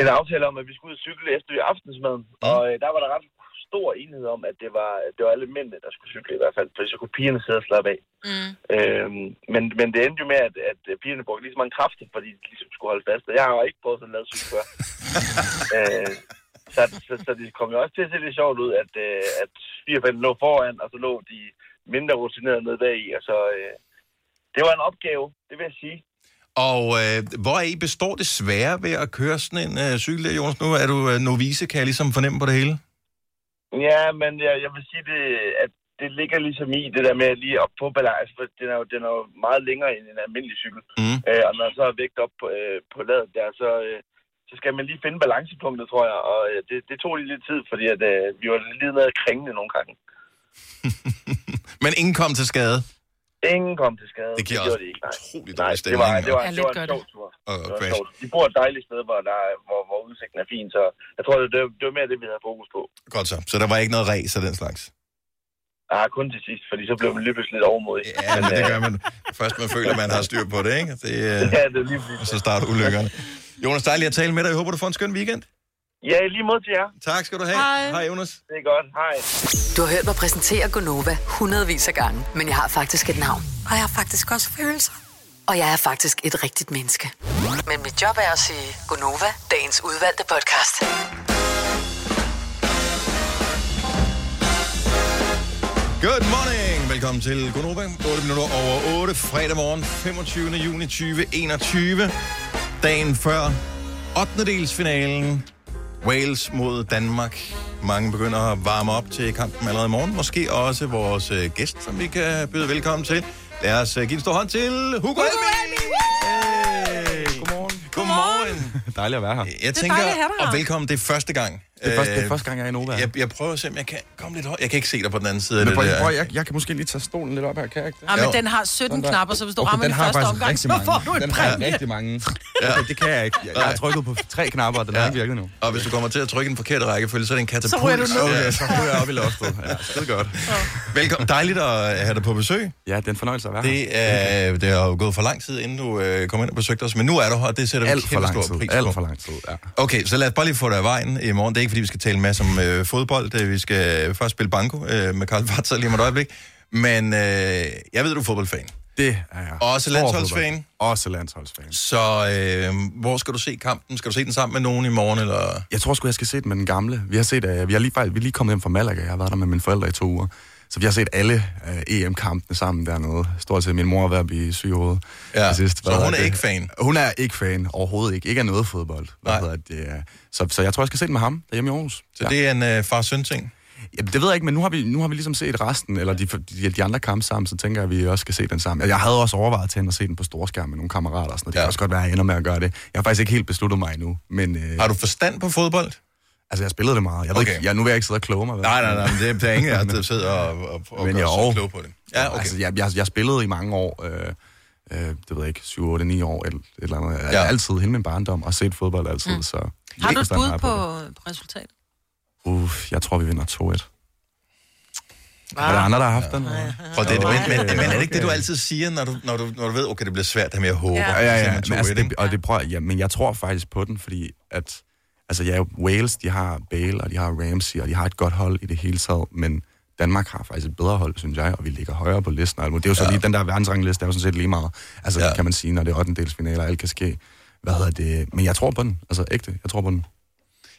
Speaker 13: en aftale om, at vi skulle ud og cykle efter aftensmaden, mm. og øh, der var der ret stor enighed om, at det var, det var alle mændene, der skulle cykle i hvert fald, for så kunne pigerne sidde og slappe af.
Speaker 2: Mm.
Speaker 13: Øhm, men, men det endte jo med, at, at pigerne brugte lige så mange kræfter, fordi de ligesom skulle holde fast. Og jeg har jo ikke prøvet sådan noget cykel før. øh, så, så, så det kom jo også til at se lidt sjovt ud, at, øh, at firefælden lå foran, og så lå de mindre rutinerede nede bagi. Og så, øh, det var en opgave, det vil jeg sige.
Speaker 1: Og øh, hvor er I består det svære ved at køre sådan en øh, cykel der, Jonas? Nu er du øh, novice, kan jeg ligesom fornemme på det hele.
Speaker 13: Ja, men jeg, jeg vil sige, det, at det ligger ligesom i det der med at lige op på balance, for den er, jo, den er jo meget længere end en almindelig cykel.
Speaker 1: Mm.
Speaker 13: Øh, og når jeg så er vægt op på, øh, på ladet der, så, øh, så skal man lige finde balancepunktet, tror jeg. Og øh, det, det tog lige lidt tid, fordi at, øh, vi var lige nede kringende nogle gange.
Speaker 1: Men ingen kom til skade.
Speaker 13: Ingen kom til skade.
Speaker 1: Det giver
Speaker 13: gjorde
Speaker 1: også
Speaker 13: de ikke, nej.
Speaker 1: utrolig
Speaker 13: Nej, det
Speaker 1: dårlig stemning.
Speaker 13: var, det var,
Speaker 1: og-
Speaker 13: det var en sjov tur.
Speaker 1: Og
Speaker 13: Det var en
Speaker 1: crash.
Speaker 13: sjov tur. De bor et dejligt sted, hvor, der, er- hvor, hvor udsigten er fin, så jeg tror, det, det var mere det, vi havde fokus på.
Speaker 1: Godt så. Så der var ikke noget ræs og den slags.
Speaker 13: Ah, kun til sidst, fordi så blev man lige pludselig lidt overmodig.
Speaker 1: Ja, men det gør man. Først man føler, man har styr på det, ikke? Det, øh,
Speaker 13: øh, Ja, det er lige præcis.
Speaker 1: og så starter ulykkerne. Jonas, dejligt at tale med dig. Jeg håber, du får en skøn weekend.
Speaker 13: Ja, lige mod til jer.
Speaker 1: Tak skal du have.
Speaker 3: Hej.
Speaker 1: Hej Jonas.
Speaker 13: Det er godt. Hej.
Speaker 3: Du har hørt mig præsentere Gonova hundredvis af gange, men jeg har faktisk et navn.
Speaker 14: Og jeg har faktisk også følelser.
Speaker 3: Og jeg er faktisk et rigtigt menneske. Men mit job er at sige Gonova, dagens udvalgte podcast.
Speaker 1: Good morning. Velkommen til Gunova. 8 minutter over 8. Fredag morgen, 25. juni 2021. Dagen før 8. delsfinalen. Wales mod Danmark. Mange begynder at varme op til kampen allerede i morgen. Måske også vores øh, gæst, som vi kan byde velkommen til. Lad os øh, give en stor hånd til Hugo, Hugo Elmi. Hey. Godmorgen. Godmorgen.
Speaker 16: Dejligt at være her.
Speaker 1: Jeg tænker, og velkommen, det er første gang.
Speaker 16: Det er første- det er
Speaker 1: Øh,
Speaker 16: første gang, jeg er i Nova.
Speaker 1: Jeg, jeg prøver at se, om jeg kan komme lidt højt. Jeg kan ikke se dig på den anden side af
Speaker 16: Men
Speaker 1: det
Speaker 16: prøv,
Speaker 1: der.
Speaker 16: prøv, jeg, jeg kan måske lige tage stolen lidt op her, kan jeg ikke? det?
Speaker 2: Ja, men den har 17
Speaker 16: Sådan der.
Speaker 2: knapper, så hvis du
Speaker 16: Okay,
Speaker 2: rammer
Speaker 16: den
Speaker 2: den
Speaker 16: har
Speaker 2: første
Speaker 16: faktisk
Speaker 2: omgang,
Speaker 16: rigtig
Speaker 2: så
Speaker 16: mange.
Speaker 2: får du en
Speaker 16: Den har
Speaker 2: præmie.
Speaker 16: rigtig mange. Okay, det kan jeg ikke. Jeg, jeg har trykket på tre knapper, og den har ikke virket nu.
Speaker 1: Og hvis du kommer til at trykke den forkerte rækkefølge, så er det en katapult.
Speaker 16: Så ryger du ned.
Speaker 1: Ja,
Speaker 16: Okay, så ryger jeg op i loftet.
Speaker 1: Ja, skide godt. Velkommen. Dejligt at have dig på besøg.
Speaker 16: Ja, det er en fornøjelse at være
Speaker 1: Det, er, det har jo gået for lang tid, inden du øh, kom ind og besøgte os, men nu er du her, og det sætter vi
Speaker 16: Alt for
Speaker 1: kæmpe
Speaker 16: lang
Speaker 1: stor
Speaker 16: tid.
Speaker 1: pris
Speaker 16: Alt
Speaker 1: på.
Speaker 16: for lang tid, ja.
Speaker 1: Okay, så lad os bare lige få dig af vejen i morgen. Det er ikke, fordi vi skal tale en masse om øh, fodbold. Det, vi skal først spille banko øh, med Karl Vatzer lige om et øjeblik. Men øh, jeg ved, du er fodboldfan.
Speaker 16: Det er jeg.
Speaker 1: Også
Speaker 16: Stor
Speaker 1: landsholdsfan?
Speaker 16: fodbold. Også landsholdsfan.
Speaker 1: Så øh, hvor skal du se kampen? Skal du se den sammen med nogen i morgen? Eller?
Speaker 16: Jeg tror sgu, jeg skal se den med den gamle. Vi har set, uh, vi har lige, faktisk, vi er lige kommet hjem fra Malaga. Jeg har været der med mine forældre i to uger. Så vi har set alle uh, EM-kampene sammen dernede. Stort set min mor er ved at blive syg i hovedet.
Speaker 1: Ja,
Speaker 16: til sidst.
Speaker 1: så hun
Speaker 16: hedder
Speaker 1: er
Speaker 16: det?
Speaker 1: ikke fan?
Speaker 16: Hun er ikke fan overhovedet ikke. Ikke af noget fodbold. Hvad
Speaker 1: Nej.
Speaker 16: hedder det? øh, Så, så jeg tror, jeg skal se den med ham derhjemme i Aarhus.
Speaker 1: Så det er en øh, far-søn-ting?
Speaker 16: Ja, det ved jeg ikke, men nu har vi, nu har vi ligesom set resten, eller de, de, de andre kampe sammen, så tænker jeg, at vi også skal se den sammen. Jeg havde også overvejet til at se den på storskærm med nogle kammerater og sådan noget. Det kan også godt være, at jeg ender med at gøre det. Jeg har faktisk ikke helt besluttet mig endnu. Men, øh,
Speaker 1: har du forstand på fodbold?
Speaker 16: Altså, jeg spillede det meget. Jeg ved
Speaker 1: Okay.
Speaker 16: okay. ikke, jeg, nu vil jeg ikke sidde og kloge mig. vel?
Speaker 1: Nej, nej, nej, men det er- der er ingen af os, der sidder og- og- og
Speaker 16: Men
Speaker 1: gør
Speaker 16: jeg
Speaker 1: sig
Speaker 16: over-
Speaker 1: klog på det. Ja, okay.
Speaker 16: Altså, jeg, jeg, jeg spillede i mange år, øh, øh, det ved jeg ikke, 7, 8, 9 år, eller et eller andet. Jeg ja. altid hele min barndom og set fodbold altid,
Speaker 2: Mm.
Speaker 16: mm. så...
Speaker 2: Har du et
Speaker 16: Forstand
Speaker 2: bud
Speaker 16: jeg
Speaker 2: på resultatet?
Speaker 16: Uff, jeg tror, vi vinder 2-1. Er der andre, der har haft den?
Speaker 1: Prøv, det, men, men, men er det ikke det, du altid siger, når du, når du, når du ved, okay, det bliver svært, det her med, jeg håber?
Speaker 16: Ja, ja, ja. Men,
Speaker 1: Men,
Speaker 16: altså, det, og det prøver, ja, men jeg tror faktisk på den, fordi at, altså ja, Wales, de har Bale, og de har Ramsey, og de har et godt hold i det hele taget, men Danmark har faktisk et bedre hold, synes jeg, og vi ligger højere på listen. og alt muligt. Det er jo så
Speaker 1: Ja.
Speaker 16: ja. lige den der verdensrangliste, er jo sådan set lige meget. Altså,
Speaker 1: Ja.
Speaker 16: ja. kan man sige, når det er 8. finaler, alt kan ske. Hvad hedder det? Men jeg tror på den. Altså, ægte. Jeg tror på den.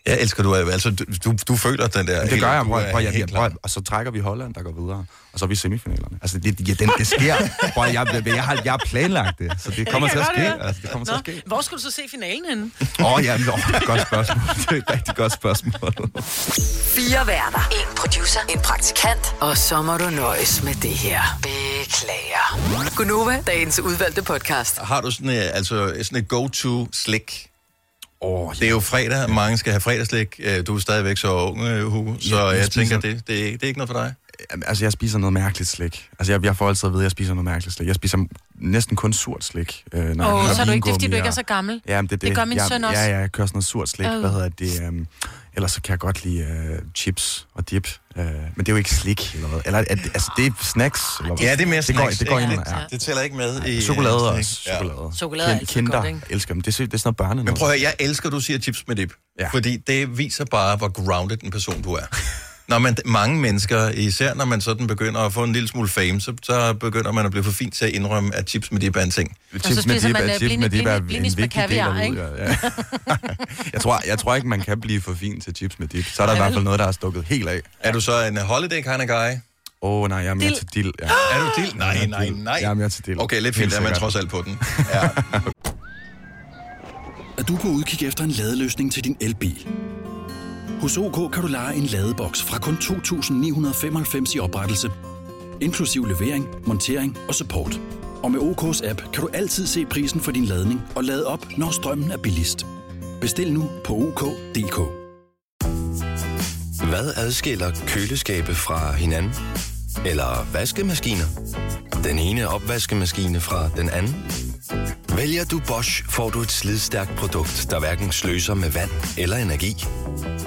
Speaker 1: Jeg elsker du. Altså, du, du føler den der...
Speaker 16: Det
Speaker 1: helt-
Speaker 16: gør jeg,
Speaker 1: du
Speaker 16: prøv,
Speaker 1: er
Speaker 16: prøv, jeg,
Speaker 1: helt
Speaker 16: jeg, prøv, og så trækker vi Holland, der går videre, og så er vi i semifinalerne. Altså, det, ja, den, det sker. Prøv, jeg, jeg, jeg, har, jeg har planlagt det, så det kommer
Speaker 2: kan
Speaker 16: til
Speaker 2: jeg
Speaker 16: at
Speaker 2: godt
Speaker 16: ske.
Speaker 2: høre.
Speaker 16: Altså, det kommer til at
Speaker 2: Nå,
Speaker 16: ske.
Speaker 2: Hvor skulle du så se finalen henne?
Speaker 16: Åh, oh, ja, men, oh, godt spørgsmål. Det er et rigtig godt spørgsmål.
Speaker 3: Fire værter. En producer. En praktikant. Og så må du nøjes med det her. Beklager. Gunova, dagens udvalgte podcast.
Speaker 1: Har du sådan, øh, altså, sådan et go-to-slik?
Speaker 16: Oh,
Speaker 1: Det er jo fredag, mange skal have fredagslik. Øh, Du er stadigvæk så ung, øh, Hugo, så
Speaker 16: Ja,
Speaker 1: ja,
Speaker 16: jeg
Speaker 1: jeg,
Speaker 16: spiser-
Speaker 1: tænker, det, det, er- det er ikke noget for dig.
Speaker 16: Jamen, Altså, jeg spiser noget mærkeligt slik. Altså, jeg, jeg får altid at vide, at jeg spiser noget mærkeligt slik. Jeg spiser næsten kun surt slik. Øh, når jeg
Speaker 2: Åh,
Speaker 16: kører
Speaker 2: så er du ikke det, fordi
Speaker 16: vingummi
Speaker 2: du ikke er
Speaker 16: og-
Speaker 2: så gammel.
Speaker 16: Ja, men det, er
Speaker 2: Det gør min
Speaker 16: jeg,
Speaker 2: søn også.
Speaker 16: Ja, ja, jeg kører sådan noget surt slik.
Speaker 2: Øh.
Speaker 16: Hvad hedder det? Um, ellers så kan jeg godt lide øh, chips og dip. Øh, men det er jo ikke slik eller noget. Eller, er, det- altså, det er snacks. Eller, hvad?
Speaker 1: Ja, det er mere
Speaker 16: det går,
Speaker 1: snacks,
Speaker 16: det går
Speaker 1: ikke?
Speaker 16: ind,
Speaker 1: Det-
Speaker 16: ja.
Speaker 1: det tæller ikke med i, øh,
Speaker 16: Chokolade
Speaker 1: snack.
Speaker 16: også.
Speaker 1: Ja.
Speaker 16: Chokolade.
Speaker 1: Chokolade er altid
Speaker 16: Kinder,
Speaker 1: godt, ikke?
Speaker 16: elsker dem. Det er, sy- det er sådan noget børne
Speaker 1: Men prøv at høre, jeg elsker, at du siger chips med dip. Ja. Fordi det viser bare, hvor grounded en person du er. Når man, mange mennesker, især når man sådan begynder at få en lille smule fame, så, så begynder man at blive for fint til at indrømme, at chips med dip er en ting.
Speaker 16: Chips så med spiser dip er- man, øh, chips med blini- dip er blini- en blinis med vigtig del af kaviar, det, ikke? ja. jeg, tror, jeg tror ikke, man kan blive for fin til chips med dip. Så er der i
Speaker 1: Nej,
Speaker 16: hvert
Speaker 1: vel?
Speaker 16: fald noget, der er stukket helt af.
Speaker 1: Er du så en holiday kind of guy?
Speaker 16: Åh, oh, nej, jeg er mere
Speaker 1: Dild.
Speaker 16: til dild. Ja.
Speaker 1: Er du dild? Nej, nej, nej.
Speaker 16: Jeg er mere til dild.
Speaker 1: Okay, lidt
Speaker 16: Helt
Speaker 1: fint, er man
Speaker 16: sikkert.
Speaker 1: trods alt på den.
Speaker 5: Er du på udkig efter en ladeløsning til din elbil? Hos OK kan du lege en ladeboks fra kun 2.995 i oprettelse, inklusiv levering, montering og support. Og med OK's app kan du altid se prisen for din ladning og lade op, når strømmen er billigst. Bestil nu på OK.dk.
Speaker 6: Hvad adskiller køleskabe fra hinanden? Eller vaskemaskiner? Den ene opvaskemaskine fra den anden? Vælger du Bosch, får du et slidstærkt produkt, der hverken sløser med vand eller energi.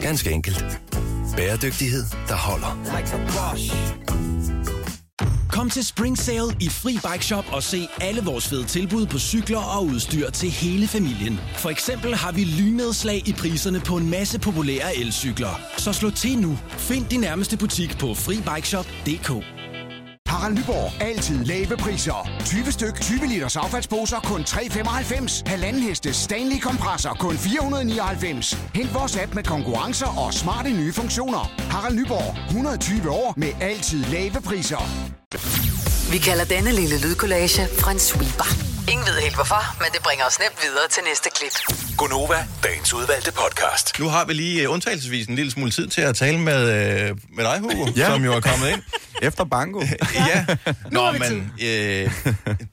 Speaker 6: Ganske enkelt. Bæredygtighed, der holder.
Speaker 7: Like a boss. Kom til Spring Sale i Free Bike Shop og se alle vores fede tilbud på cykler og udstyr til hele familien. For eksempel har vi lynedslag i priserne på en masse populære elcykler. Så slå til nu. Find din nærmeste butik på FriBikeShop.dk.
Speaker 11: Harald Nyborg. Altid lave priser. 20 styk, 20 liters affaldsposer kun 3,95. Halvanden heste Stanley kompresser kun 499. Hent vores app med konkurrencer og smarte nye funktioner. Harald Nyborg. 120 år med altid lave priser.
Speaker 3: Vi kalder denne lille lydkollage en sweeper. Ingen ved helt hvorfor, men det bringer os nemt videre til næste klip.
Speaker 9: Gonova, dagens udvalgte podcast.
Speaker 1: Nu har vi lige uh, undtagelsesvis en lille smule tid til at tale med, uh, med dig, Hugo, ja. som jo er kommet ind.
Speaker 16: Efter banko.
Speaker 1: ja. Nå, men øh,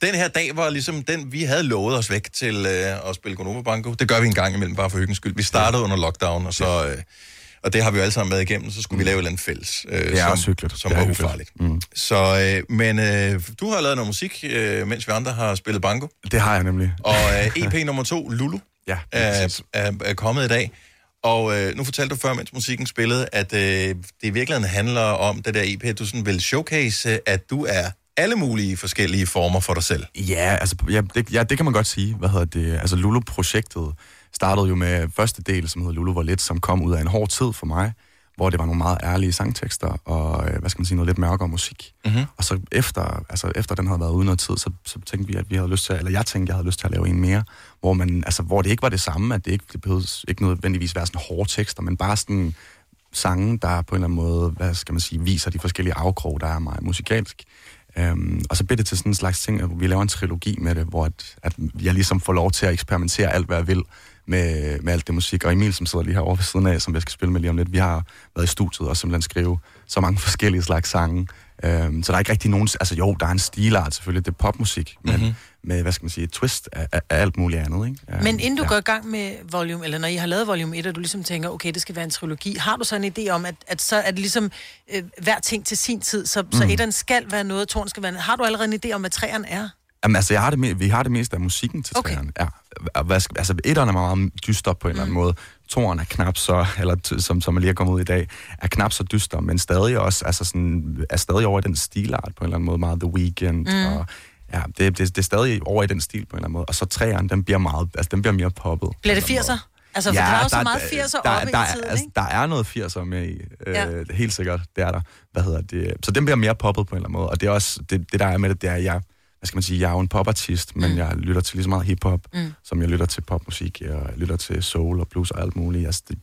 Speaker 1: den her dag var ligesom den, vi havde lovet os væk til øh, at spille Gonova Banko. Det gør vi en gang imellem, bare for hyggens skyld. Vi startede under lockdown, og så... Øh, og det har vi jo alle sammen været igennem, så skulle vi lave et eller andet fælles, øh,
Speaker 16: Det er Mm. også
Speaker 1: som,
Speaker 16: hyggeligt.
Speaker 1: som
Speaker 16: Det er
Speaker 1: var
Speaker 16: hyggeligt.
Speaker 1: ufarligt. Mm. Så, øh, men øh, du har lavet noget musik, øh, mens vi andre har spillet banko.
Speaker 16: Det har jeg nemlig.
Speaker 1: Og øh, EP nummer to, Lulu,
Speaker 16: Ja,
Speaker 1: er, er, er kommet i dag. Og øh, nu fortalte du før, mens musikken spillede, at øh, det i virkeligheden handler om det der EP, at du sådan vil showcase, øh, at du er alle mulige forskellige former for dig selv.
Speaker 16: Ja, altså, ja, det, ja, det kan man godt sige. Hvad hedder det? Altså, Lulu-projektet startede jo med første del, som hedder Lulu var lidt, som kom ud af en hård tid for mig, hvor det var nogle meget ærlige sangtekster og, øh, hvad skal man sige, noget lidt mørkere musik. Mm-hmm. Og så efter, altså, efter den havde været ude noget tid, så, så tænkte vi, at vi havde lyst til, at- eller jeg tænkte, jeg havde lyst til at lave en mere, hvor, man, altså, hvor det ikke var det samme, at det ikke, det behøvede ikke nødvendigvis være sådan hårde tekster, men bare sådan sange, der på en eller anden måde, hvad skal man sige, viser de forskellige afkrog, der er af mig musikalsk. Øhm, og så blev det til sådan en slags ting, at vi laver en trilogi med det, hvor at, at jeg ligesom får lov til at eksperimentere alt, hvad jeg vil med, med alt det musik. Og Emil, som sidder lige herovre ved siden af, som jeg skal spille med lige om lidt, vi har været i studiet og simpelthen skrive så mange forskellige slags sange. Øhm, så der er ikke rigtig nogen... Altså jo, der er en stilart selvfølgelig, det er popmusik, men mm-hmm. med, hvad skal man sige, et twist af, af, af alt muligt andet, ikke? Øhm,
Speaker 2: Men inden du ja. går i gang med volume, eller når I har lavet volume 1, og du ligesom tænker, okay, det skal være en trilogi, har du så en idé om, at, at så er det ligesom øh, hver ting til sin tid, så, mm. så
Speaker 16: Mm.
Speaker 2: etteren skal være noget, toren skal være noget. Har du allerede en idé om, hvad træerne er?
Speaker 16: Jamen, altså, jeg har det, me- vi har det mest af musikken til okay. træerne. Ja. Og hvad skal- Altså, etteren er meget dyster på en eller anden måde. Toren er knap så, eller t- som, som er lige er kommet ud i dag, er knap så dyster, men stadig også, altså sådan, er stadig over i den stilart på en eller anden måde. Meget The Weeknd
Speaker 14: Mm.
Speaker 16: mm. og Ja, det, det, det, er stadig over i den stil på en eller anden måde. Og så træerne, den bliver meget, altså den bliver mere poppet.
Speaker 2: Bliver det 80'er? Altså, for der er jo så meget 80'er
Speaker 16: der,
Speaker 2: oppe
Speaker 16: der,
Speaker 2: i tiden,
Speaker 16: altså,
Speaker 2: ikke?
Speaker 16: der er noget 80'er med i, øh,
Speaker 2: Ja.
Speaker 16: ja. helt sikkert, det er der. Hvad hedder det? Så den bliver mere poppet på en eller anden måde, og det er også, det, det der er med det, det er, at jeg, hvad skal man sige, jeg er jo en popartist,
Speaker 2: Mm.
Speaker 16: men jeg lytter til lige så meget hiphop,
Speaker 14: Mm.
Speaker 16: mm. som jeg lytter til popmusik, og jeg lytter til soul og blues og alt muligt. Altså, det,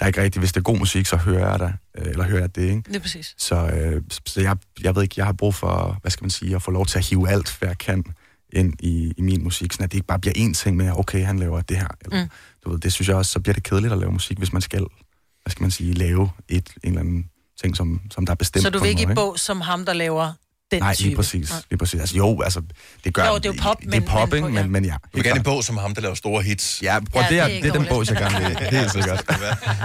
Speaker 16: der er ikke rigtigt, hvis det er god musik, så hører jeg det, øh, eller hører jeg det, ikke?
Speaker 2: Det er præcis.
Speaker 16: Så, øh, så jeg, jeg ved ikke, jeg har brug for, hvad skal man sige, at få lov til at hive alt, hvad jeg kan ind i, i min musik, så det ikke bare bliver én ting med, okay, han laver det her, eller
Speaker 2: Mm.
Speaker 16: du ved, det synes jeg også, så bliver det kedeligt at lave musik, hvis man skal, hvad skal man sige, lave et, en eller anden ting, som, som der er bestemt
Speaker 2: Så du
Speaker 16: på
Speaker 2: vil
Speaker 16: en
Speaker 2: ikke i
Speaker 16: måde,
Speaker 2: bog som ham, der laver den
Speaker 16: Nej,
Speaker 2: type?
Speaker 16: lige præcis,
Speaker 2: Nej.
Speaker 16: lige præcis. Altså jo, altså, det gør...
Speaker 2: Jo, det er jo pop,
Speaker 16: det,
Speaker 2: men-
Speaker 16: det er pop,
Speaker 2: men-
Speaker 16: ikke? Men, men ja.
Speaker 1: vil gerne en bog som ham, der laver store hits.
Speaker 16: Ja, prøv,
Speaker 1: ja
Speaker 16: det er- det er den bog, jeg gerne vil. Helt sikkert.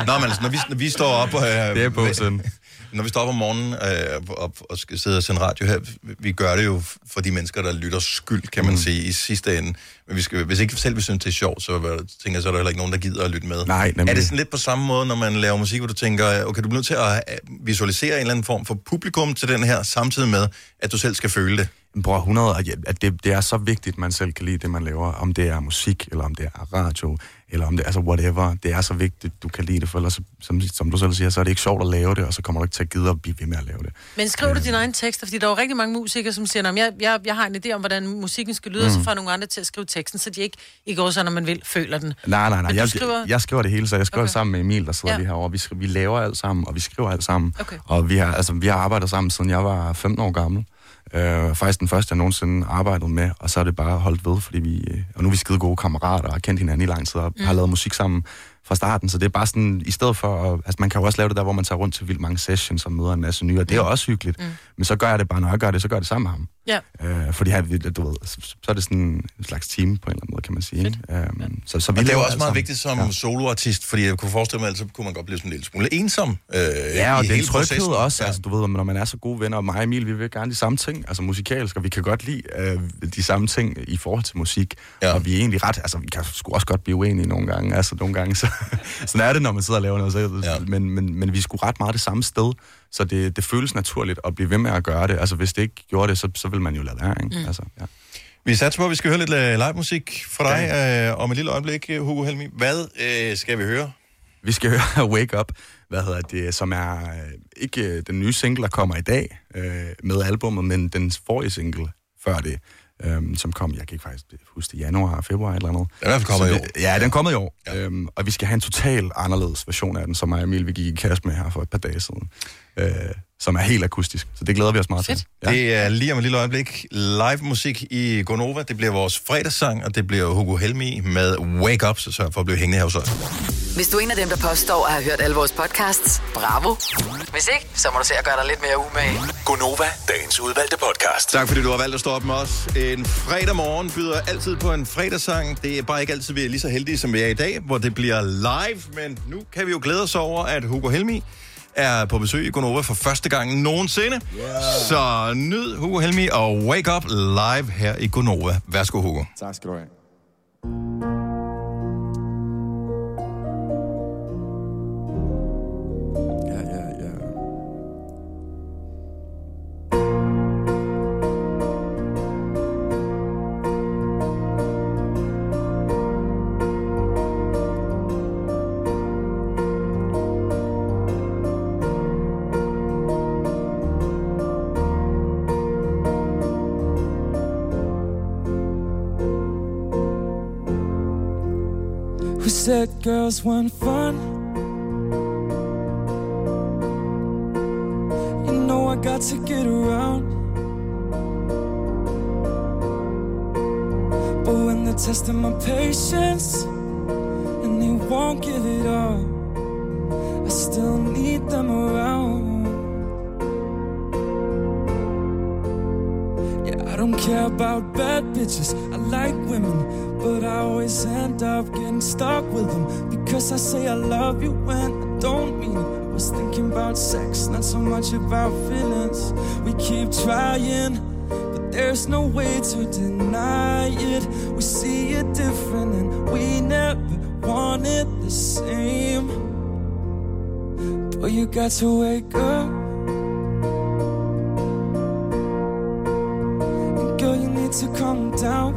Speaker 1: Nå, men altså, når vi, når vi står op... Øh, det
Speaker 16: er bogen.
Speaker 1: Når vi står op om morgenen øh, og, og skal sidde og sende radio her, vi gør det jo for de mennesker, der lytter skyld, kan man mm. sige, i sidste ende. Men vi skal, hvis ikke selv vi synes, det er sjovt, så øh, tænker jeg, så er der heller ikke nogen, der gider at lytte med.
Speaker 16: Nej, nemlig.
Speaker 1: Er det sådan lidt på samme måde, når man laver musik, hvor du tænker, okay, du bliver nødt til at øh, visualisere en eller anden form for publikum til den her, samtidig med, at du selv skal føle det?
Speaker 16: Bror, 100, og ja, at det, det er så vigtigt, at man selv kan lide det, man laver. Om det er musik, eller om det er radio, eller om det er altså whatever. Det er så vigtigt, du kan lide det, for ellers, som, som du selv siger, så er det ikke sjovt at lave det, og så kommer du ikke til at gide at blive ved med at lave det.
Speaker 2: Men skriver du
Speaker 1: Øh.
Speaker 2: dine egne tekster? Fordi der er jo rigtig mange musikere, som siger, at jeg, jeg, jeg har en idé om, hvordan musikken skal lyde, mm. og så
Speaker 16: Mm.
Speaker 2: får nogle andre til at skrive teksten, så de ikke i går så, når man vil, føler den.
Speaker 16: Nej, nej, nej.
Speaker 2: Men du
Speaker 16: Jeg,
Speaker 2: skriver-
Speaker 16: skriver... jeg skriver det hele, så jeg skriver
Speaker 2: Okay.
Speaker 16: okay. sammen med Emil, der sidder
Speaker 2: Ja.
Speaker 16: ja. lige herovre. Vi, skriver, vi laver alt sammen, og vi skriver alt sammen.
Speaker 2: Okay.
Speaker 16: Og vi har, altså, vi har arbejdet sammen, siden jeg var 15 år gammel. Øh, faktisk den første, jeg nogensinde arbejdede med, og så er det bare holdt ved, fordi vi, øh, og nu er vi skide gode kammerater, og har kendt hinanden i lang tid, og mm. har lavet musik sammen fra starten, så det er bare sådan, i stedet for, at, altså man kan jo også lave det der, hvor man tager rundt til vildt mange sessions og møder en masse nye, og det er også hyggeligt, mm. men så gør jeg det bare, når jeg gør det, så gør jeg det sammen med ham.
Speaker 2: Ja.
Speaker 16: Øh, fordi her, du ved, så så er det sådan en slags team på en eller anden måde, kan man sige. Ikke? Øhm, så, så
Speaker 1: Og
Speaker 16: vi
Speaker 1: det er
Speaker 16: laver
Speaker 1: jo også
Speaker 16: alt
Speaker 1: meget
Speaker 16: sammen.
Speaker 1: vigtigt som øh, ja. soloartist, fordi jeg kunne forestille mig, at så kunne man godt blive sådan en lille smule ensom øh,
Speaker 16: Ja, og
Speaker 1: i
Speaker 16: det er en
Speaker 1: hele
Speaker 16: tryghed
Speaker 1: processen.
Speaker 16: også. Ja. Altså, du ved, når man er så gode venner, og mig og Emil, vi vil gerne de samme ting, altså musikalsk, og vi kan godt lide øh, de samme ting i forhold til musik. Ja. Og vi er egentlig ret, altså vi kan sgu også godt blive uenige nogle gange, altså nogle gange, så sådan er det, når man sidder og laver noget selv. Ja. Men, men, men vi er sgu ret meget det samme sted, så det, det føles naturligt at blive ved med at gøre det. Altså hvis det ikke gjorde det, så, så vil man jo lade være, ikke?
Speaker 1: Mm.
Speaker 16: Mm. Altså, ja.
Speaker 1: Vi satser på, at vi skal høre lidt øh, live musik fra dig øh, om et lille øjeblik, øh, Hugo Helmi. Hvad øh, skal vi høre?
Speaker 16: Vi skal høre Wake Up, hvad hedder det, som er øh, ikke øh, den nye single, der kommer i dag øh, med albummet, men den forrige single før det, øh, som kom, jeg kan ikke faktisk huske det, januar, februar eller noget.
Speaker 1: Den er i hvert fald kommet
Speaker 16: Så
Speaker 1: i
Speaker 16: det- Ja, den er kommet i år. Ja. Øhm, og vi skal have en total anderledes version af den, som mig og Emil vi gik i kast med her for et par dage siden, øh, som er helt akustisk. Så det glæder vi os meget til.
Speaker 1: Ja. Det er lige om et lille øjeblik live musik i Gonova. Det bliver vores fredagssang, og det bliver Hugo Helmi med Wake Up, så sørg for at blive hængende her hos os.
Speaker 3: Hvis du er en af dem, der påstår at have hørt alle vores podcasts, bravo. Hvis ikke, så må du se at gøre dig lidt mere umage.
Speaker 9: Gonova, dagens udvalgte podcast.
Speaker 1: Tak fordi du har valgt at stå op med os. En fredag morgen byder altid på en fredagssang. Det er bare ikke altid, vi er lige så heldige, som vi er i dag, hvor det bliver live. Men nu kan vi jo glæde os over, at Hugo Helmi er på besøg i Gonova for første gang nogensinde. Yeah. Så nyd Hugo Helmi og Wake Up live her i Gonova. Værsgo, Hugo.
Speaker 17: Tak skal du have. Ja, ja, ja.
Speaker 18: Who said girls weren't fun? You know I got to get around. But when they're testing my patience and they won't give it all, I still need them around. Yeah, I don't care about bad bitches. I like women, but I always end up getting stuck with them because I say I love you when I don't mean it. I was thinking about sex, not so much about feelings. We keep trying, but There's no way to deny it. We see it different and we never want it the same. But you got to wake up. And girl, you need to calm down.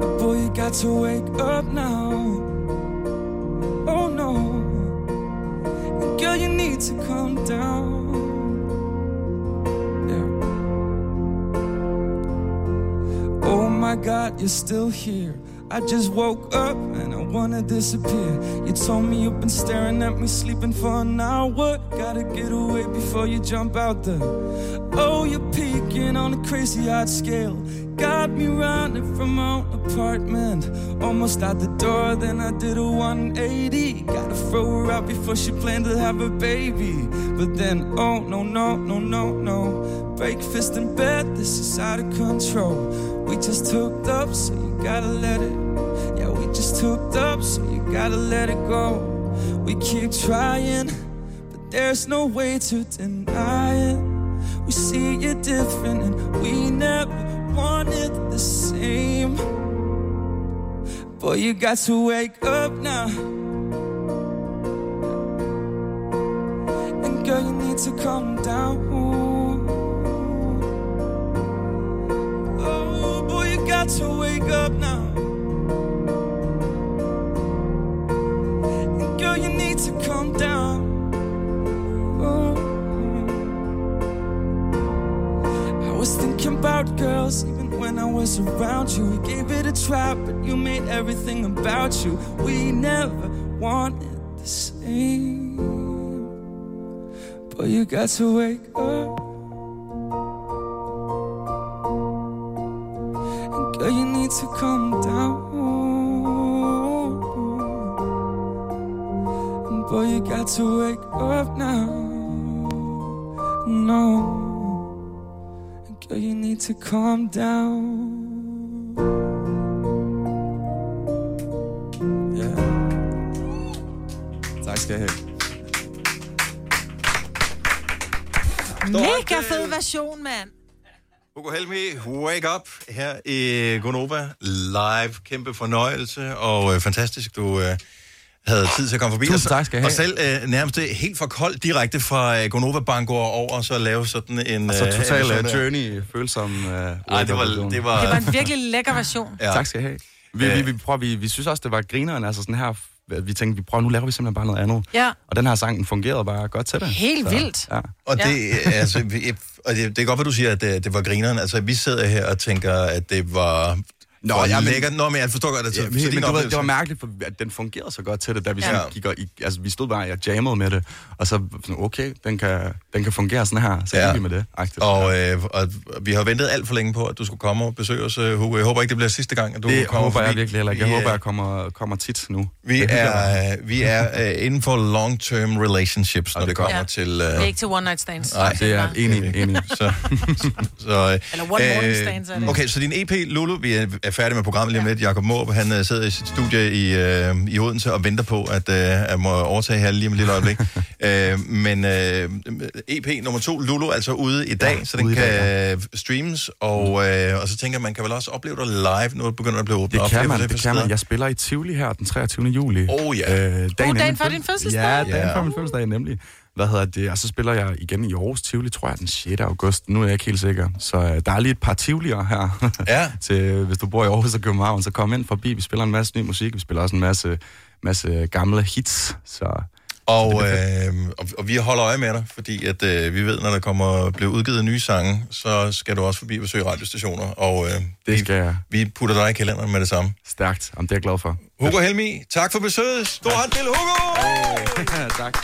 Speaker 18: But boy, you got to wake up now. Oh no. And girl, you need to calm down. Yeah. Oh my god, you're still here. I just woke up and I wanna disappear. You told me you've been staring at me, sleeping for an hour. Gotta get away before you jump out the. Oh, you're peeking on a crazy hot scale. Got me running from my own apartment. Almost out the door, then I did a 180. Gotta throw her out before she planned to have a baby. But then, oh, no, no, no, no, no. Breakfast in bed, this is out of control. We just hooked up, so you gotta let it. Yeah, we just hooked up, so you gotta let it go. We keep trying, but there's no way to deny it. We see it different, and we never wanted the same. Boy, you got to wake up now. And girl, you need to calm down. Oh, boy, you got to wake up now. And girl, you need to calm down. Oh. I was thinking about girls even when I was around you. We gave it a try, but you made everything about you. We never wanted the same. But you got to wake up. And girl, you need to calm down. And boy, you got to wake up now. No. And girl, you need to calm down.
Speaker 16: Tak skal jeg have.
Speaker 2: Mega fed version, mand.
Speaker 1: Hugo Helmi, wake up her i Gonova live. Kæmpe fornøjelse, og øh, fantastisk, du øh, havde tid til at komme forbi.
Speaker 16: Tusind
Speaker 1: Og-
Speaker 16: tak skal jeg
Speaker 1: Og
Speaker 16: have.
Speaker 1: selv øh, nærmest øh, helt for koldt direkte fra øh, Gonova Bango og over, og så lave sådan en...
Speaker 16: Og så total, øh,
Speaker 1: journey, følsom... Nej, det var... Det var,
Speaker 2: Det var en virkelig lækker version.
Speaker 1: Ja.
Speaker 16: Ja. Tak skal I have. Øh. Vi, vi, vi, prøver, vi, vi synes også, det var grineren, altså sådan her, at vi tænkte, vi prøver, nu laver vi simpelthen bare noget andet.
Speaker 2: Ja.
Speaker 16: Og den her sang den fungerede bare godt til det.
Speaker 2: Helt vildt.
Speaker 16: Ja.
Speaker 1: Og det, altså, vi, og det, det er godt, hvad du siger, at det, det var grineren. Altså, vi sidder her og tænker, at det var... Nå, var
Speaker 16: ja, men-
Speaker 1: lækkert. Nå, men jeg forstår godt, at
Speaker 16: Ja,
Speaker 1: det,
Speaker 16: men, men du ved, det var mærkeligt, for, at den fungerede så godt til det, da vi, sådan
Speaker 1: Ja.
Speaker 16: gik og, i- altså, vi stod bare, jeg jammede med det, og så sådan, okay, den kan, den kan fungere sådan her, så ja. vi med det. Agtigt.
Speaker 1: Og, øh, og vi har ventet alt for længe på, at du skulle komme og besøge os, øh, Hugo. Jeg håber ikke, det bliver sidste gang, at du
Speaker 16: det
Speaker 1: kommer
Speaker 16: håber jeg
Speaker 1: forbi.
Speaker 16: virkelig heller ikke. Jeg
Speaker 1: Vi, øh,
Speaker 16: håber, jeg kommer, kommer tit nu.
Speaker 1: Vi
Speaker 16: Jeg hygger
Speaker 1: er,
Speaker 16: mig.
Speaker 1: øh, vi er øh, inden for long-term relationships, når det kommer
Speaker 2: Ja.
Speaker 1: til...
Speaker 2: Det
Speaker 1: Øh,
Speaker 2: er ikke til one night stands.
Speaker 1: Nej, det er
Speaker 2: bare-
Speaker 1: enig, enig. Så, så, øh,
Speaker 2: Eller one morning stands, er det.
Speaker 1: Okay, så din EP, Lulu, vi er, er færdige med programmet lige om lidt. Jakob Måb, han øh, sidder i sit studie i, øh, i Odense og venter på, at øh, jeg må overtage her lige om et lille øjeblik. øh, men øh, EP nummer to, Lulu, er altså ude i dag, ja, så den
Speaker 16: ude i
Speaker 1: kan
Speaker 16: dag,
Speaker 1: dag, ja. streames, og, øh, og så tænker jeg, man kan vel også opleve dig live, når det begynder at blive åbnet op.
Speaker 16: Det kan man,
Speaker 1: flere
Speaker 16: det kan man.
Speaker 1: steder.
Speaker 16: Jeg spiller i Tivoli her den 23. juli.
Speaker 1: Oh ja.
Speaker 16: Øh, dagen,
Speaker 2: dagen
Speaker 16: inden
Speaker 2: før
Speaker 16: fød-
Speaker 2: din fødselsdag.
Speaker 16: Ja, dagen
Speaker 2: Ja.
Speaker 16: før min fødselsdag nemlig. Hvad hedder det? Og så spiller jeg igen i Aarhus Tivoli, tror jeg, den 6. august. Nu er jeg ikke helt sikker. Så øh, der er lige et par Tivoli'er her.
Speaker 1: Ja.
Speaker 16: til, hvis du bor i Aarhus og København, så kom ind forbi. Vi spiller en masse ny musik. Vi spiller også en masse, masse gamle hits. Så
Speaker 1: Og, øh, og, og vi holder øje med dig, fordi at, øh, vi ved, når der kommer bliver udgivet nye sange, så skal du også forbi og besøge radiostationer, og øh,
Speaker 16: det skal jeg.
Speaker 1: vi putter dig i kalenderen med det samme.
Speaker 16: Stærkt. Jamen, det er jeg glad for.
Speaker 1: Hugo Helmi, tak for besøget. Stor hånd til Hugo!
Speaker 16: tak.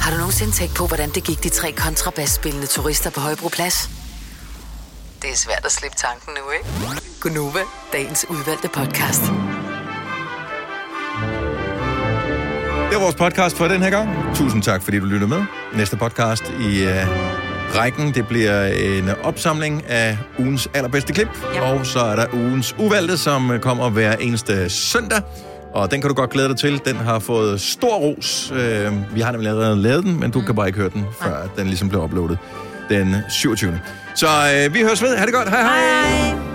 Speaker 3: Har du nogensinde tænkt på, hvordan det gik de tre kontrabasspillende turister på Højbroplads? Det er svært at slippe tanken nu, ikke? Gunova, dagens udvalgte podcast.
Speaker 1: Det var vores podcast for den her gang. Tusind tak, fordi du lyttede med. Næste podcast i øh, rækken, det bliver en opsamling af ugens allerbedste klip. Ja. Og så er der ugens uvalgte, som øh, kommer hver eneste søndag. Og den kan du godt glæde dig til. Den har fået stor ros. Øh, vi har nemlig allerede lavet den, men du kan bare ikke høre den, før den ligesom bliver uploadet den 27. Så øh, vi høres ved. Ha' det godt. Hej hej. hej.